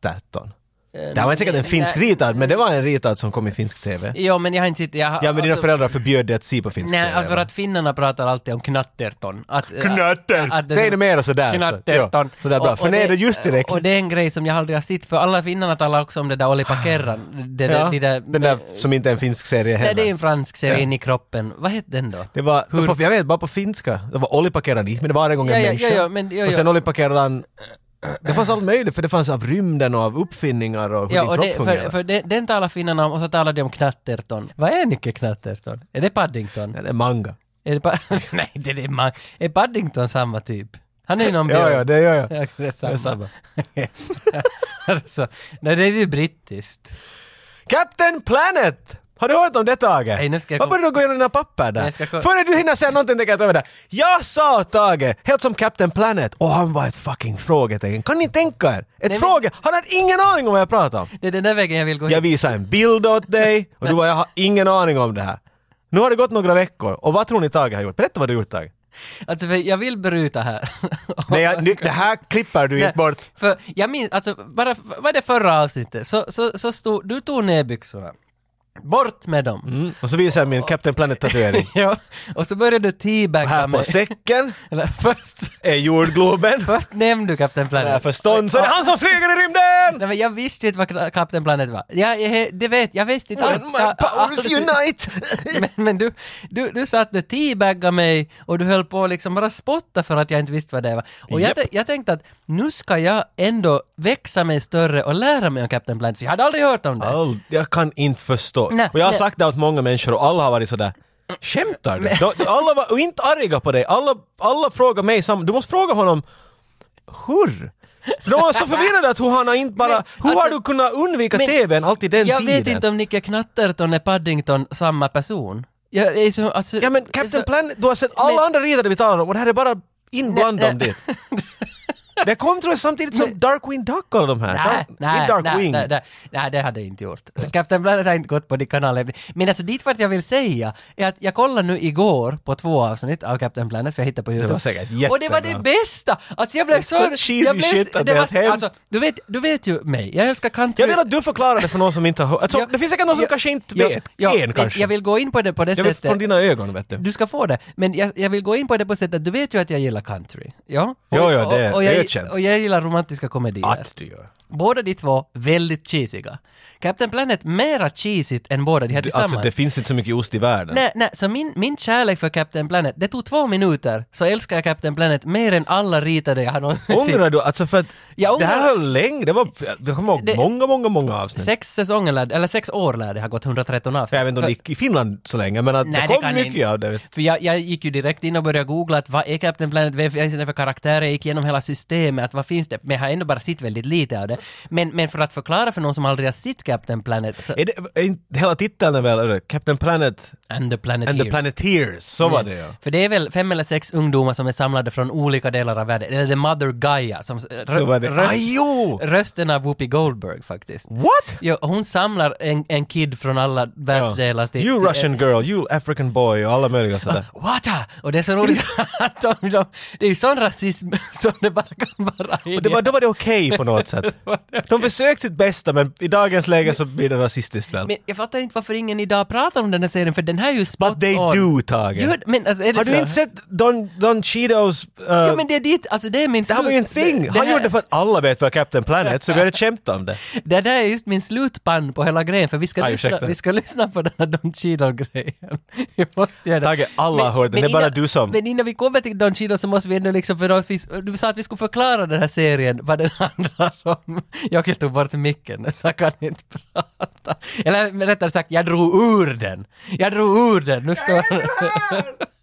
Knatterton? Det här var inte säkert en finsk Eh, nej. ritad, men det var en ritad som kom i finsk TV. Jo, men jag har inte sett... Jag, har- Ja, men dina alltså- föräldrar förbjöd dig att se på finsk Nej, alltså, TV. för va? att finnarna pratar alltid om knatterton. Att, Knatter! Säg det mera sådär. så- Knatterton. ja, Sådär bra. Och- och Förnedra just direkt. Och det är en grej som jag aldrig har sett, för alla finnarna talar också om det där Olipakerran. Det, det, Ah. Ja, det, där, den där som inte är en finsk serie Nej, det är heller. en fransk serie, In i kroppen. Vad hette den då? Det var, på, jag vet, bara på finska. Det var Ollipakerani, men det var en gång en Ja, ja, människa. ja, ja, men- ja, och ja. sen Ollipakeran... Det fanns allt möjligt, för det fanns av rymden och av uppfinningar och hur Ja, din och kropp det, fungerar. för, för den, den talar finnarna om och så talar de om knatterton. Vad är Nicke Knatterton? Är det Paddington? Nej, det är manga. Är det pa- Nej, det är det man... Är Paddington samma typ? Han är ju någon Ja, björn. ja, det gör jag. Ja, det är samma. Det är samma. alltså, nej, det är ju brittiskt. Captain Planet! Har du hört om det Tage? Hej, nu ska jag Vad börjar du gå igenom dina papper där? Jag ska kolla. Före du hinner säga någonting tänker jag ta över det. Jag sa åt Tage, helt som Captain Planet, och han var ett fucking frågetecken. Kan ni tänka er? Ett men- fråge... Han hade ingen aning om vad jag pratade om. Det är den där vägen jag vill gå. Jag visade en bild åt dig och du bara, jag har ingen aning om det här. Nu har det gått några veckor och vad tror ni Tage har gjort? Berätta vad du har gjort Tage. Alltså, för jag vill bryta här. Nej, jag, nu- det här klipper du inte bort. För jag minns, alltså, bara, var det förra avsnittet? Så, så, så stod, du tog ner byxorna. Bort med dem. Mm. Och så visar jag min Captain Planet-tatuering. Ja, och så började du teabagga Här på mig. säcken Eller först, är jordgloben. först nämnde du Kapten Där Planet. förstånd så är det han som flyger i rymden! Nej, men jag visste inte vad Kapten Planet var. Jag, jag, det vet, jag visste inte When alls. my powers Alls. unite! Men, men du, du, du sa att du teabaggade mig och du höll på att liksom bara spotta för att jag inte visste vad det var. Och jag, Japp. tän- jag tänkte att nu ska jag ändå växa mig större och lära mig om Kapten Planet, för jag hade aldrig hört om det. All, jag kan inte förstå. Nej, och jag har nej. sagt det åt många människor och alla har varit sådär Skämtar du? De- Alla var och inte arga på dig. Alla, alla frågar mig samma... Du måste fråga honom hur? För De var så förvirrade att hur han har inte bara... Men, hur har alltså- du kunnat undvika Men TVn alltid den jag tiden? vet inte om Nicke Knatterton är Paddington samma person. Jag är så, alltså, Ja men det är Captain så- Planet, du har sett alla Men- andra riddare vi talar om och det här är bara inblandat om Nej, det. Det kom tror jag samtidigt som Darkwing Duck och de här. Nej, Dark- nej, inte nej, Darkwing. nej, nej, nej, det hade jag inte gjort. Captain Planet har inte gått på de kanalerna. Men alltså dit vart jag vill säga är att jag kollade nu igår på två avsnitt av Captain Planet för jag hittade på Youtube. var säkert Och det var det jättebra. bästa! Alltså jag blev Det så... är så cheesy jag blev, shit att det är helt hemskt. du, vet, du vet ju mig, jag älskar country. Jag vill att du förklarar det för någon som inte har alltså, Ja, Det finns säkert någon som ja, kanske inte ja, vet. ja, en men kanske. Jag vill gå in på det på det Jag vill sättet. från dina ögon vet du. Du ska få det. Men jag, jag vill gå in på det på sättet att du vet ju att jag gillar country. Ja? Och, Jo, jo, det är och, och, jag, ökänt. och jag gillar romantiska komedier. Att du gör. Båda de två väldigt cheesiga. Captain Planet mera cheesigt än båda de här Du, tillsammans. alltså det finns inte så mycket ost i världen. Nej, nej, så min, min kärlek för Captain Planet, det tog två minuter, så älskar jag Captain Planet mer än alla ritade jag har någonsin. Ångrar du? Alltså för att Jag det här ångrar- höll länge. Det var, jag kommer ihåg Det- många, många, många avsnitt. Sex säsonger, lär, eller sex år lär det ha gått 113 avsnitt. jag vet inte om det För- gick i Finland så länge men att Nej, det det kom kan jag mycket inte. av det. För jag, jag gick ju direkt in och började googla att vad är Captain Planet, vad finns det för karaktärer, jag gick igenom hela systemet, att vad finns det? Men jag har ändå bara sett väldigt lite av det. Men, men för att förklara för någon som aldrig har sett Captain Planet, så, Är det är inte hela titeln är väl eller? Captain Planet and the Planet and the Hero. Planeteers? Så var det ja. För det är väl fem eller sex ungdomar som är samlade från olika delar av världen. Eller The Mother Gaia, som eh, rö- Så var det. röst- Aj, jo! rösten av Whoopi Goldberg faktiskt. What? Jo, hon samlar en, en kid från alla världsdelar till... You till, Russian girl, you African boy och alla möjliga sådär. Wata! Och det är så roligt att de, de, det är ju sån rasism som det bara kan vara. Och det var, då var det okej på något sätt. De försökte sitt bästa men i dagens läge så blir det rasistiskt väl? Men jag fattar inte varför ingen idag pratar om den här serien, för den här är ju spot But they on. do, Tage. Gör- men alltså, är det Har du så? inte sett Don, Don Cheetos... Uh, Ja men det är dit, alltså det är min det här var ju en thing! Han gjorde det för att alla vet vad Captain Planet så vi har ett skämt om det. Det där är just min slutpann på hela grejen, för vi ska, Aj, lyssna, ursäkta. vi ska lyssna på den här Don Cheadle-grejen. Vi måste göra det. Tage, alla har hört den. Det är bara innan- du som- Men innan vi kommer till Don Cheadle så måste vi ändå liksom, för då finns, du sa att vi skulle förklara den här serien, vad den handlar om. Jag tog bort micken, så jag kan inte prata. Eller men rättare sagt, jag drog ur den. Jag drog ur den, nu står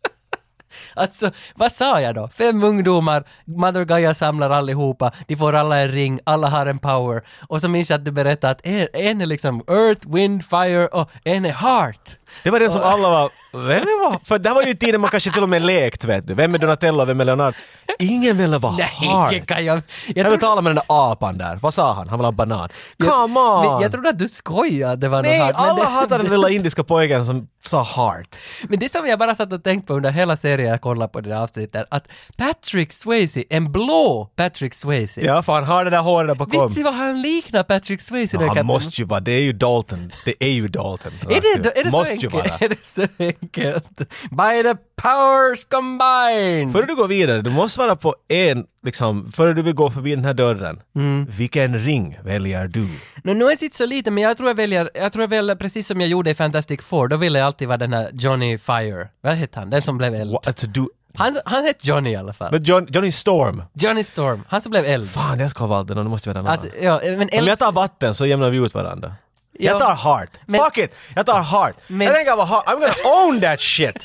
Alltså, vad sa jag då? Fem ungdomar, Mother Gaia samlar allihopa, de får alla en ring, alla har en power. Och så minns jag att du berättade att en, en är liksom Earth, Wind, Fire och en är Heart. Det var den som alla var... Vem var... För det här var ju tiden man kanske till och med lekt vet du. Vem är Donatello, vem är Leonardo? Ingen ville vara Nej, det hard. kan jag... Jag, Jag vill trodde- tala med den där apan där. Vad sa han? Han vill ha en banan. Come men on! jag trodde att du skojade att det var Nej, något men alla det- hatar den lilla indiska pojken som sa heart. Men det som jag bara satt och tänkt på under hela serien jag kollade på det där avsnittet, är att Patrick Swayze, en blå Patrick Swayze, Ja, för han har det där håret där bakom. vet du vad han liknar Patrick Swayze? Ja, när han Captain- måste ju vara, det är ju Dalton. Det är ju Dalton. Är det, då- är det så måste ju enkelt? vara. Är det så enkelt? By the powers combined! Före du går vidare, du måste vara på en, liksom, före du vill gå förbi den här dörren. Mm. Vilken ring väljer du? Nå, nu är jag inte så liten, men jag tror jag väljer, jag tror jag väljer precis som jag gjorde i Fantastic Four, då ville jag alltid vara den här Johnny Fire. Vad hette han? Den som blev eld. What, alltså du... Han, han hette Johnny i alla fall. Men John, Johnny Storm. Johnny Storm, han som blev eld. Fan, jag ska ha valt den och nu måste jag välja Alltså, alltså, ja, men Om eld... jag tar vatten så jämnar vi ut varandra. Jag Ja. tar heart. Men- Fuck it! Jag tar heart. Men- jag tänker vara heart. I'm gonna own that shit!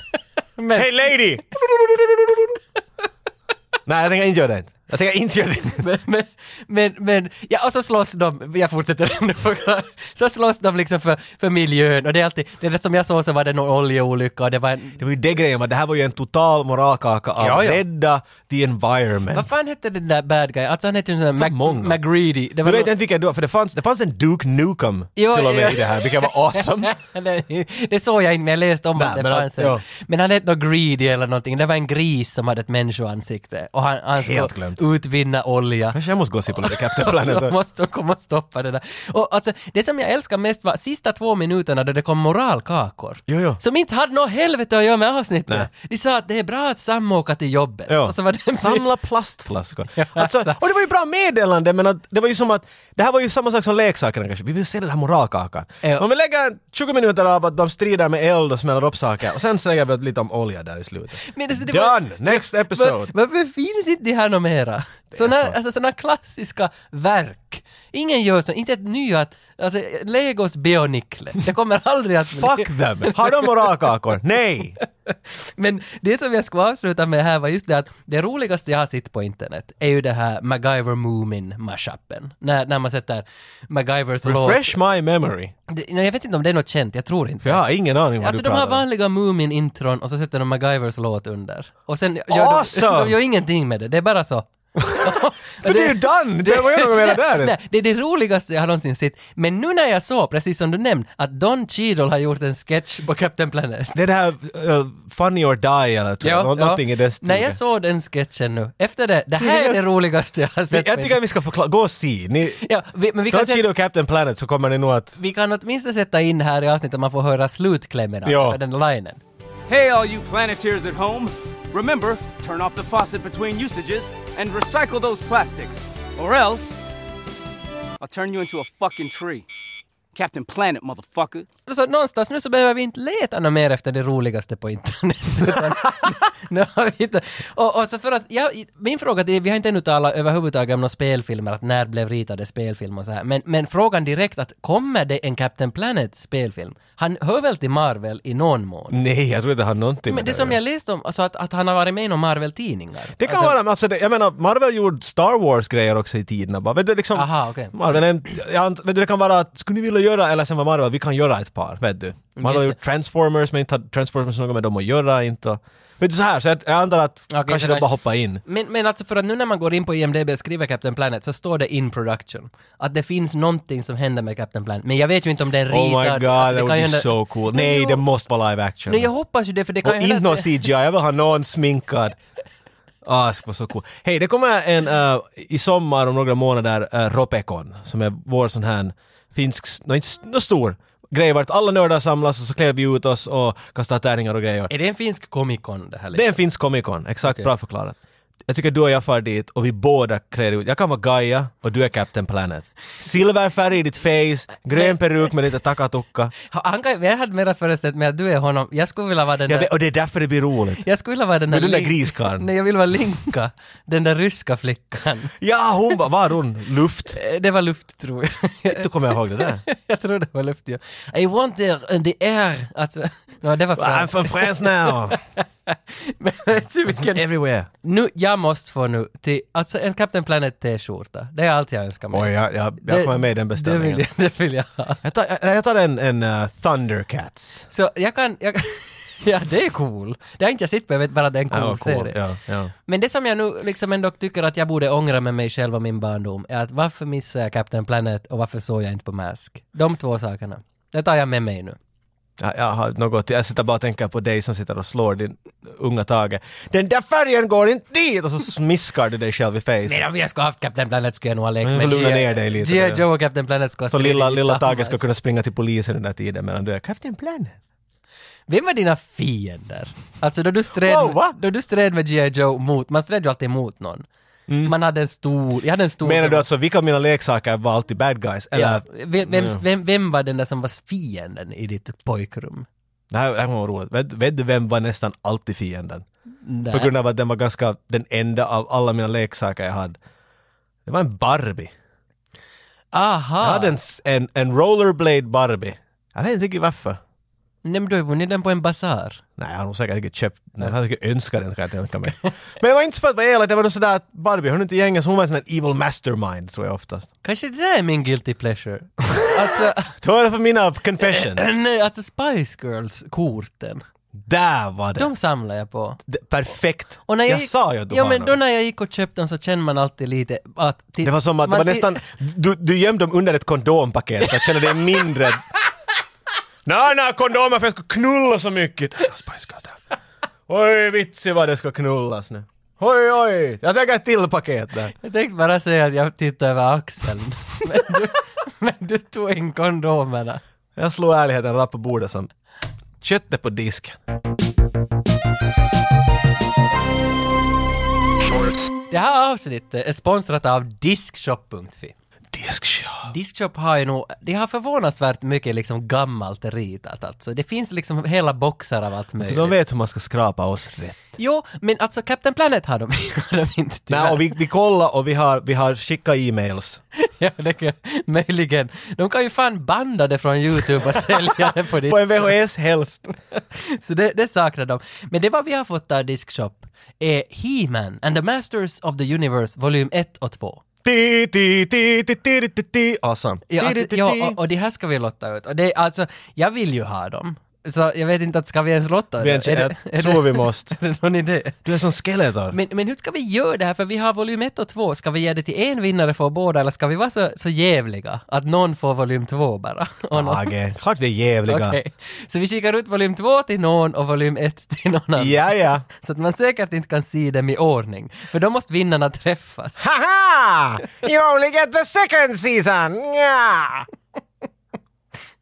men, Hey lady! Nej, jag tänker inte göra det. Jag tänker inte göra det. men, men, men, ja och så slåss de, jag fortsätter ändå, så slåss de liksom för, för miljön och det är alltid, det är det som jag såg så var det någon oljeolycka och det var en, Det var ju det grejen, men det här var ju en total moralkaka av Ja, ja. rädda the environment. vad fan hette den där bad guy, alltså han hette ju sån där många. Mac- McGreedy. Det Du var vet inte vilken det var, för det fanns, det fanns en Duke Nukem Jo, till och med ja. i det här, vilket var awesome. det, det såg jag inte, men jag läste om Nej, att det men att- fanns en. ja. Men han hette något greedy eller någonting. Det var en gris som hade ett människoansikte. Och han, han skulle Helt glömt. utvinna olja. Kanske jag måste gå och se på lite Captain Och så Planet. Alltså, måste de komma och stoppa det där. Och alltså, det som jag älskar mest var sista två minuterna då det kom moralkakor. Jo, jo. Som inte hade något helvete att göra med avsnittet. Nej. De sa att det är bra att samåka till jobbet. Ja. Och så var det en Samla plastflaskor. Ja, Alltså, alltså. och det var ju bra meddelande men att, det var ju som att det här var ju samma sak som leksakerna kanske. Vi vill se den här moralkakan. Ja. Om vi lägger 20 minuter av att de strider med eld och smäller upp saker och sen slänger vi lite om olja där i slutet. Men alltså, det var- Done! Next episode! Var, varför finns inte det här något mera? Såna, alltså, såna klassiska verk. Ingen gör så, inte ett nytt, alltså Legos Bionicle. Det kommer aldrig att... Fuck them! Har de moralkakor? Nej! Men det som jag skulle avsluta med här var just det att det roligaste jag har sett på internet är ju det här MacGyver Moomin mashupen. När, när man sätter MacGyvers Refresh my memory. låt. Det- nej, Jag vet inte om det är något känt, jag tror inte. För jag har ingen aning vad Alltså du de har pratar om. vanliga Moomin-intron och så sätter de MacGyvers låt under. Och sen gör Awesome! de, de gör ingenting med det, det är bara så. För det är ju done! Det var ju något mer där. Nej, det är det roligaste jag har någonsin sett. Men nu när jag såg, precis som du nämnde, att Don Cheadle har gjort en sketch på Captain Planet. Det är det här eh, Funny or Die eller tror jag. Nå- någonting i den När stilen. jag såg den sketchen nu, efter det, det här är det roligaste jag har Men sett. jag tycker att vi ska förklara, gå och se. Ni, Ja, vi, men vi Don kan, sätta, Cheadle och Captain Planet så kommer ni nog att... vi kan åtminstone sätta in här i avsnittet, man får höra slutklämmen av Ja. för den linen. Hey, all you Planeteers at home! Remember, turn off the faucet between usages and recycle those plastics, or else I'll turn you into a fucking tree. Captain Planet, motherfucker. Så någonstans nu så behöver vi inte leta något mer efter det roligaste på internet. utan nu har vi hittat- och, och så för att, jag, min fråga är, vi har inte ännu talat överhuvudtaget om några spelfilmer, att när blev ritade spelfilm och så här. Men, men frågan direkt att kommer det en Captain Planet spelfilm? Han hör väl till Marvel i någon mån? Nej, jag tror inte det har någonting Men det att som göra. jag läste om, alltså att, att han har varit med i några Marvel-tidningar. Det kan alltså, vara, men alltså det, jag menar, Marvel gjorde Star Wars-grejer också i tiderna bara. Vet du liksom... Aha, okej. Marvel, är en- jag, ant- vet du, det kan vara att, skulle ni vilja göra, eller sen var Marvel, vi kan göra ett par, vet du. Marvel har det. gjort Transformers, men inte har Transformers något med dem att göra, inte. och- Vet du så här, så jag, jag antar att Okej, kanske så de där- bara hoppar in. Men, men alltså för att nu när man går in på IMDB och skriver Captain Planet så står det in production. Att det finns någonting som händer med Captain Planet. Men jag vet ju inte om den ritar. Oh my god, alltså, that would kan ju be hända- so cool. Men Nej, jo, det måste vara live action. Nej, jag hoppas ju det för det kan Och ju hända inte att någon det- CGI, jag vill ha någon sminkad. Ah, det skulle vara så cool. Hej, det kommer en eh, i sommar om några månader, uh, Ropekon, som är vår sån här finsk, s- nej inte s- nå stor grej vart alla nördar samlas och så klär vi ut oss och kastar tärningar och grejer. Är det en finsk Comic Con det här? Det är Liksom? en finsk Comic Con, exakt bra förklarat. Jag tycker du och jag far dit och vi båda klär ut, jag kan vara Gaia och du är Captain Planet. Silverfärg i ditt face, grön peruk med lite takatukka. Han kan, jag hade mera föreställt mig att du är honom. Jag skulle vilja vara den Jag där... vet- Och det är därför det blir roligt. Jag skulle vilja vara den där... Men den där Link- griskarlen. Nej, jag vill vara Linka. Den där ryska flickan. Ja, hon bara, var hon? Luft? Eh, Det var luft, tror jag. Du kommer jag ihåg det där. jag tror det var luft, ja. I want there in the air. Alltså, no, det var I'm franskt. from France now! Men vet du vilken... Everywhere! Nu, jag måste få nu till, alltså en Captain Planet t-skjorta. Det är allt jag önskar mig. Oj, jag, jag, jag kommer med i den Det vill beställningen. jag, det vill jag ha. Jag tar, jag, jag tar en, en eh, Thundercats. Så jag kan, jag, ja det är cool. Det har inte jag sett på, jag vet bara att det är en Ja, cool, serie. Ja, ja. Men det som jag nu liksom ändå tycker att jag borde ångra med mig själv och min barndom är att varför missade jag Captain Planet och varför såg jag inte på Mask? De två sakerna. Det tar jag med mig nu. Jag, jag har något, jag sitter bara och tänker på dig som sitter och slår din unga Tage. Den där färgen går inte dit! Och så smiskar du dig själv i Men face. om jag skulle haft Captain Planet skulle jag nog ha lekt Men vi får lugna ner dig lite. G.I. Joe och Captain Planet skulle alltså. ha Så stridit lilla, lilla Tage ska tillsammans. kunna springa till polisen den där tiden medan du är Captain Planet. Vem var dina fiender? Alltså då du stred, Wow, va? då du stred med G.I. Joe mot, man stred ju alltid mot någon. Mm. Man hade en stor, jag hade en stor... Menar du alltså vilka av mina leksaker var alltid bad guys? Eller? Ja, vem, vem, vem, vem var den där som var fienden i ditt pojkrum? Det här, det här kommer vara roligt. Vet, vet du vem var nästan alltid fienden? Nej. På grund av att den var ganska den enda av alla mina leksaker jag hade. Det var en Barbie. Aha! Ah. Jag hade en, s- en, en rollerblade Barbie. Jag vet inte riktigt varför. Nej men du har ju vunnit den på en basar. Nej, han har nog säkert inte köpt. Nej, han har säkert önskat den kan jag tänka mig. Men det var inte så för att vara elak, det var då sådär att Barbie, hon är inte i gänget, så hon var en sån här evil mastermind tror jag oftast. Kanske det där är min guilty pleasure. alltså, Ta det för mina confessions. nej, alltså Spice Girls-korten. Där var det! De samlar jag på. D- Perfekt! Och när jag, jag, gick, sa ju att du ja, har men då något. när jag gick och köpte dem så kände man alltid lite att... Det var som att det man var ti- nästan, du, du gömde dem under ett kondompaket för att känna dig mindre... Nej, nej, kondomer för jag ska knulla så mycket! Ah, Spice Girls där. Oj, vitsig vad det ska knullas nu. Oj, oj! Jag tänker ett till paket där. Jag tänkte bara säga att jag tittade över axeln. men, du, men du tog in kondomerna. Jag slog ärligheten rakt på bordet som köttet på disken. shorts, Det här avsnittet är sponsrat av Diskshop.fi. Diskshop. Diskshop har ju nog, de har förvånansvärt mycket liksom gammalt ritat alltså. Det finns liksom hela boxar av allt Så möjligt. Alltså, de vet hur man ska skrapa oss rätt. Jo, men alltså Captain Planet har de, har de inte tyvärr. Nej, och vi, vi kollar och vi har, vi har skickat e-mails. Ja, det kan, möjligen. De kan ju fan banda det från YouTube och sälja det på På en disk. VHS helst. Så det, det saknar de. Men det vad vi har fått av Diskshop är He-Man and the Masters of the Universe volym 1 och 2. Ti, ti, ti, ti, ti, ti, ti, ti. Awesome. Ja, alltså, Ti, ti, ti, ti. ja och, och det här ska vi lotta ut. Och det, är alltså, jag vill ju ha dem. Så jag vet inte, att ska vi ens lotta Vi det? ens- Är det- jag är det- tror vi måste. Är det någon idé? Du är som Skeletor. Men, men hur ska vi göra det här? För vi har volym 1 och 2. Ska vi ge det till en vinnare för båda eller ska vi vara så, så jävliga att någon får volym 2 bara? Och någon- Tage, klart vi är jävliga. Okej. Så vi skickar ut volym 2 till någon och volym 1 till någon annan. Ja, ja. Så att man säkert inte kan se dem i ordning. För då måste vinnarna träffas. Haha! You only get the second season! Ja.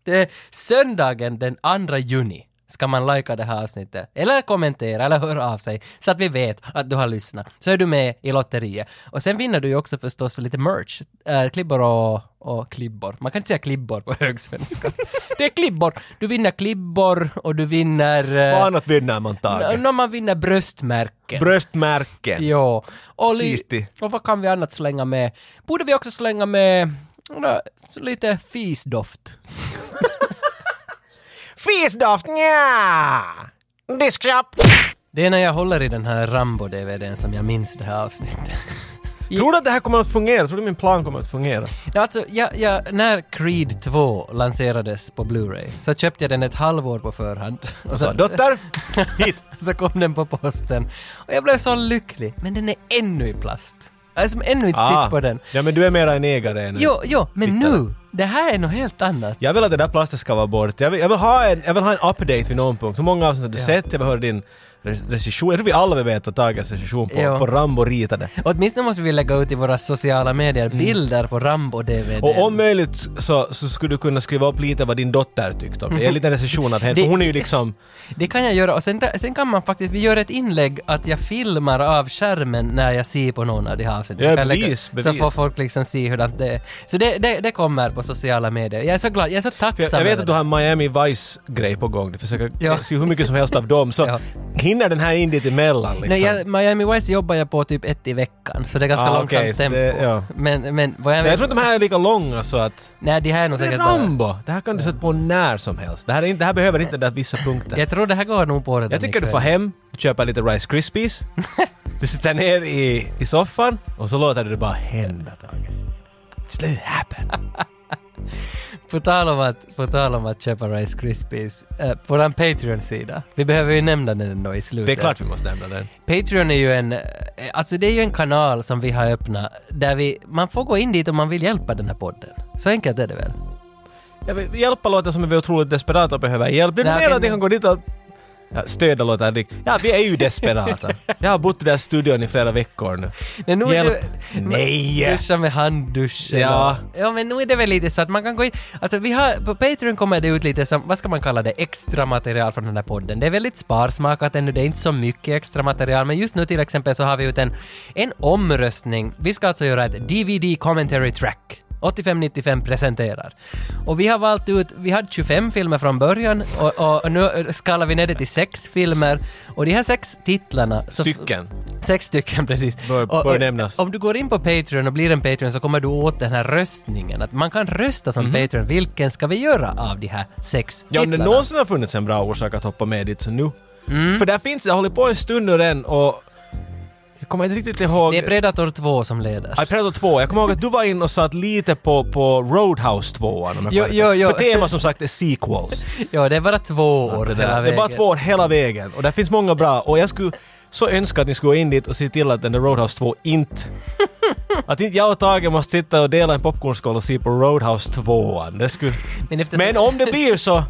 Det är söndagen den 2 juni ska man lajka det här avsnittet. Eller kommentera eller höra av sig. Så att vi vet att du har lyssnat. Så är du med i lotteriet. Och sen vinner du ju också förstås lite merch. Äh, klibbor och, och klibbor. Man kan inte säga klibbor på högsvenska. det är klibbor. Du vinner klibbor och du vinner... eh, Vad annat vinner man Tage? N- när man vinner bröstmärken. Bröstmärken. Jo. Och, li- Sisti. och vad kan vi annat slänga med? Borde vi också slänga med nå, lite fisdoft? Fisdoft, nja! Diskshop! Det är när jag håller i den här Rambo-DVDn som jag minns det här avsnittet. Tror du att det här kommer att fungera? Tror du min plan kommer att fungera? Ja, Alltså, jag, jag, när Creed 2 lanserades på Blu-ray så köpte jag den ett halvår på förhand. Och Så, dotter, hit! så kom den på posten. Och jag blev så lycklig. Men den är ännu i plast. Jag har som ännu inte sitt på den. Ja, men du är mera en ägare än en- Jo, jo, men Ah. Titta. nu! Det här är något helt annat. Jag vill att det där plasten ska vara bort. Jag vill, jag vill, ha, en, jag vill ha en update vid någon punkt. Hur många avsnitt har du sett? Jag vill höra din re- recension. Jag tror vi alla vill veta Tages recension på, Ja. på Rambo ritade. Åtminstone måste vi lägga ut i våra sociala medier bilder på Rambo-DVD. Mm. Och om möjligt så, så skulle du kunna skriva upp lite vad din dotter tyckte om det. En liten recension av henne. Det- för Hon är ju liksom... Det kan jag göra och sen, sen kan man faktiskt, vi gör ett inlägg att jag filmar av skärmen när jag ser på någon av de här avsnitten. Ja, Så kan jag lägga- bevis, bevis. Så får folk liksom se hurdant det är. Så det, det, det kommer på sociala medier. Jag är så glad, jag är så tacksam. För jag, jag vet över att du det. har en Miami Vice-grej på gång. Du försöker Ja. se hur mycket som helst av dem. Så Ja. hinner den här in dit emellan liksom? Nej, jag, Miami Vice jobbar jag på typ ett i veckan, så det är ganska Ah, långsamt okej, så tempo. det- ja. Men, men vad jag Men vet... jag tror inte de här är lika långa så att... Nej, det här är nog Det är säkert bara- Rambo! Det här kan du sätta på när som helst. Det här, är inte, det här behöver inte där vissa punkter. Jag tror det här går nog på redan Jag tycker du ikväll. får hem, du köper lite Rice Krispies, du sitter ner i, i soffan och så låter du det bara hända Tage. Just let it happen. På tal om att, på tal om att köpa Rice Krispies, eh, på vår Patreon-sida. Vi behöver ju nämna den ändå i slutet. Det är klart vi måste nämna den. Patreon är ju en, eh, alltså det är ju en kanal som vi har öppnat där vi, man får gå in dit om man vill hjälpa den här podden. Så enkelt är det väl? Jag vill hjälpa låter som att vi är otroligt desperata och behöver hjälp. Blir du Nej, mer okej, att ni men- kan gå dit och Ja, stöda låter det. Ja, vi är ju desperata. Jag har bott i den här studion i flera veckor nu. Nej, nu är Hjälp! det- Nej! Duscha med handduschen Ja. och, ja men nu är det väl lite så att man kan gå in, alltså vi har, på Patreon kommer det ut lite som, vad ska man kalla det, extra material från den här podden. Det är väldigt sparsmakat ännu, det är inte så mycket extra material men just nu till exempel så har vi ut en, en omröstning. Vi ska alltså göra ett DVD commentary track. 8595 presenterar. Och vi har valt ut, vi hade 25 filmer från början och, och, och nu skalar vi ner det till sex filmer och de här sex titlarna... så- Stycken. Sex stycken precis. Bör- Och- bör och- nämnas. Om du går in på Patreon och blir en Patreon så kommer du åt den här röstningen. Att man kan rösta som Patreon. Vilken ska vi göra av de här sex Mhm. Ja, om det titlarna? någonsin har funnits en bra orsak att hoppa med dit så nu. För där finns det, jag håller på en stund nu än och jag kommer inte riktigt ihåg. Det är Predator 2 som leder. Ja, Predator 2. Jag kommer ihåg att du var inne och satt lite på, på Roadhouse 2 om jag Jo, kommer jo, ihåg. jo. För tema som sagt är sequels. Ja, det är bara två år Det, hela där. det är bara vägen. två år hela vägen och där finns många bra och jag skulle så önska att ni skulle gå in dit och se till att den där Roadhouse 2 inte... Att inte jag och Tage måste sitta och dela en popcornskål och se på Roadhouse 2. Det skulle... Men eftersom- Men om det blir så...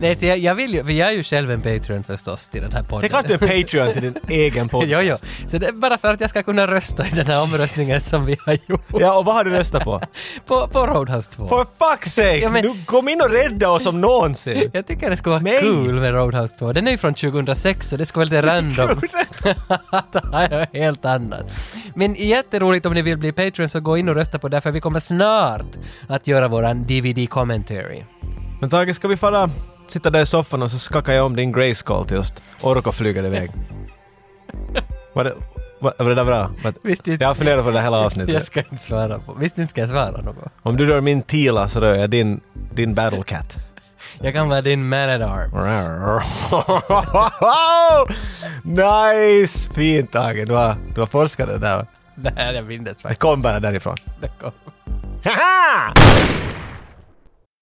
Nej, så jag, jag vill ju, för jag är ju själv en Patreon förstås till den här podden. Det är klart du är Patreon till din egen podd. Jo, jo. Så det är bara för att jag ska kunna rösta i den här omröstningen som vi har gjort. Ja, och vad har du röstat på? På, på Roadhouse 2. For fuck's sake! Ja, men- Du kom in och rädda oss om någonsin! Jag tycker det skulle vara Nej. kul med Roadhouse 2. Den är ju från 2006 så det skulle vara lite random. det här är helt annat. Men jätteroligt om ni vill bli Patreon så gå in och rösta på det för vi kommer snart att göra våran DVD-commentary. Men Tage, ska vi fara sitta där i soffan och så skakar jag om din grayskull tills orkar flyga iväg? Var det, var, var det där bra? Var det- Visst inte. Jag har funderat på det hela Jag avsnittet. ska inte svara på... Visst inte ska jag svara något? Om du rör min Tila så rör jag din, din battle cat. Jag kan vara din man at arms. nice! Fint Tage, du har, du har forskat det där. Det här jag mindes Det faktiskt. kom bara därifrån. Det kom. Haha!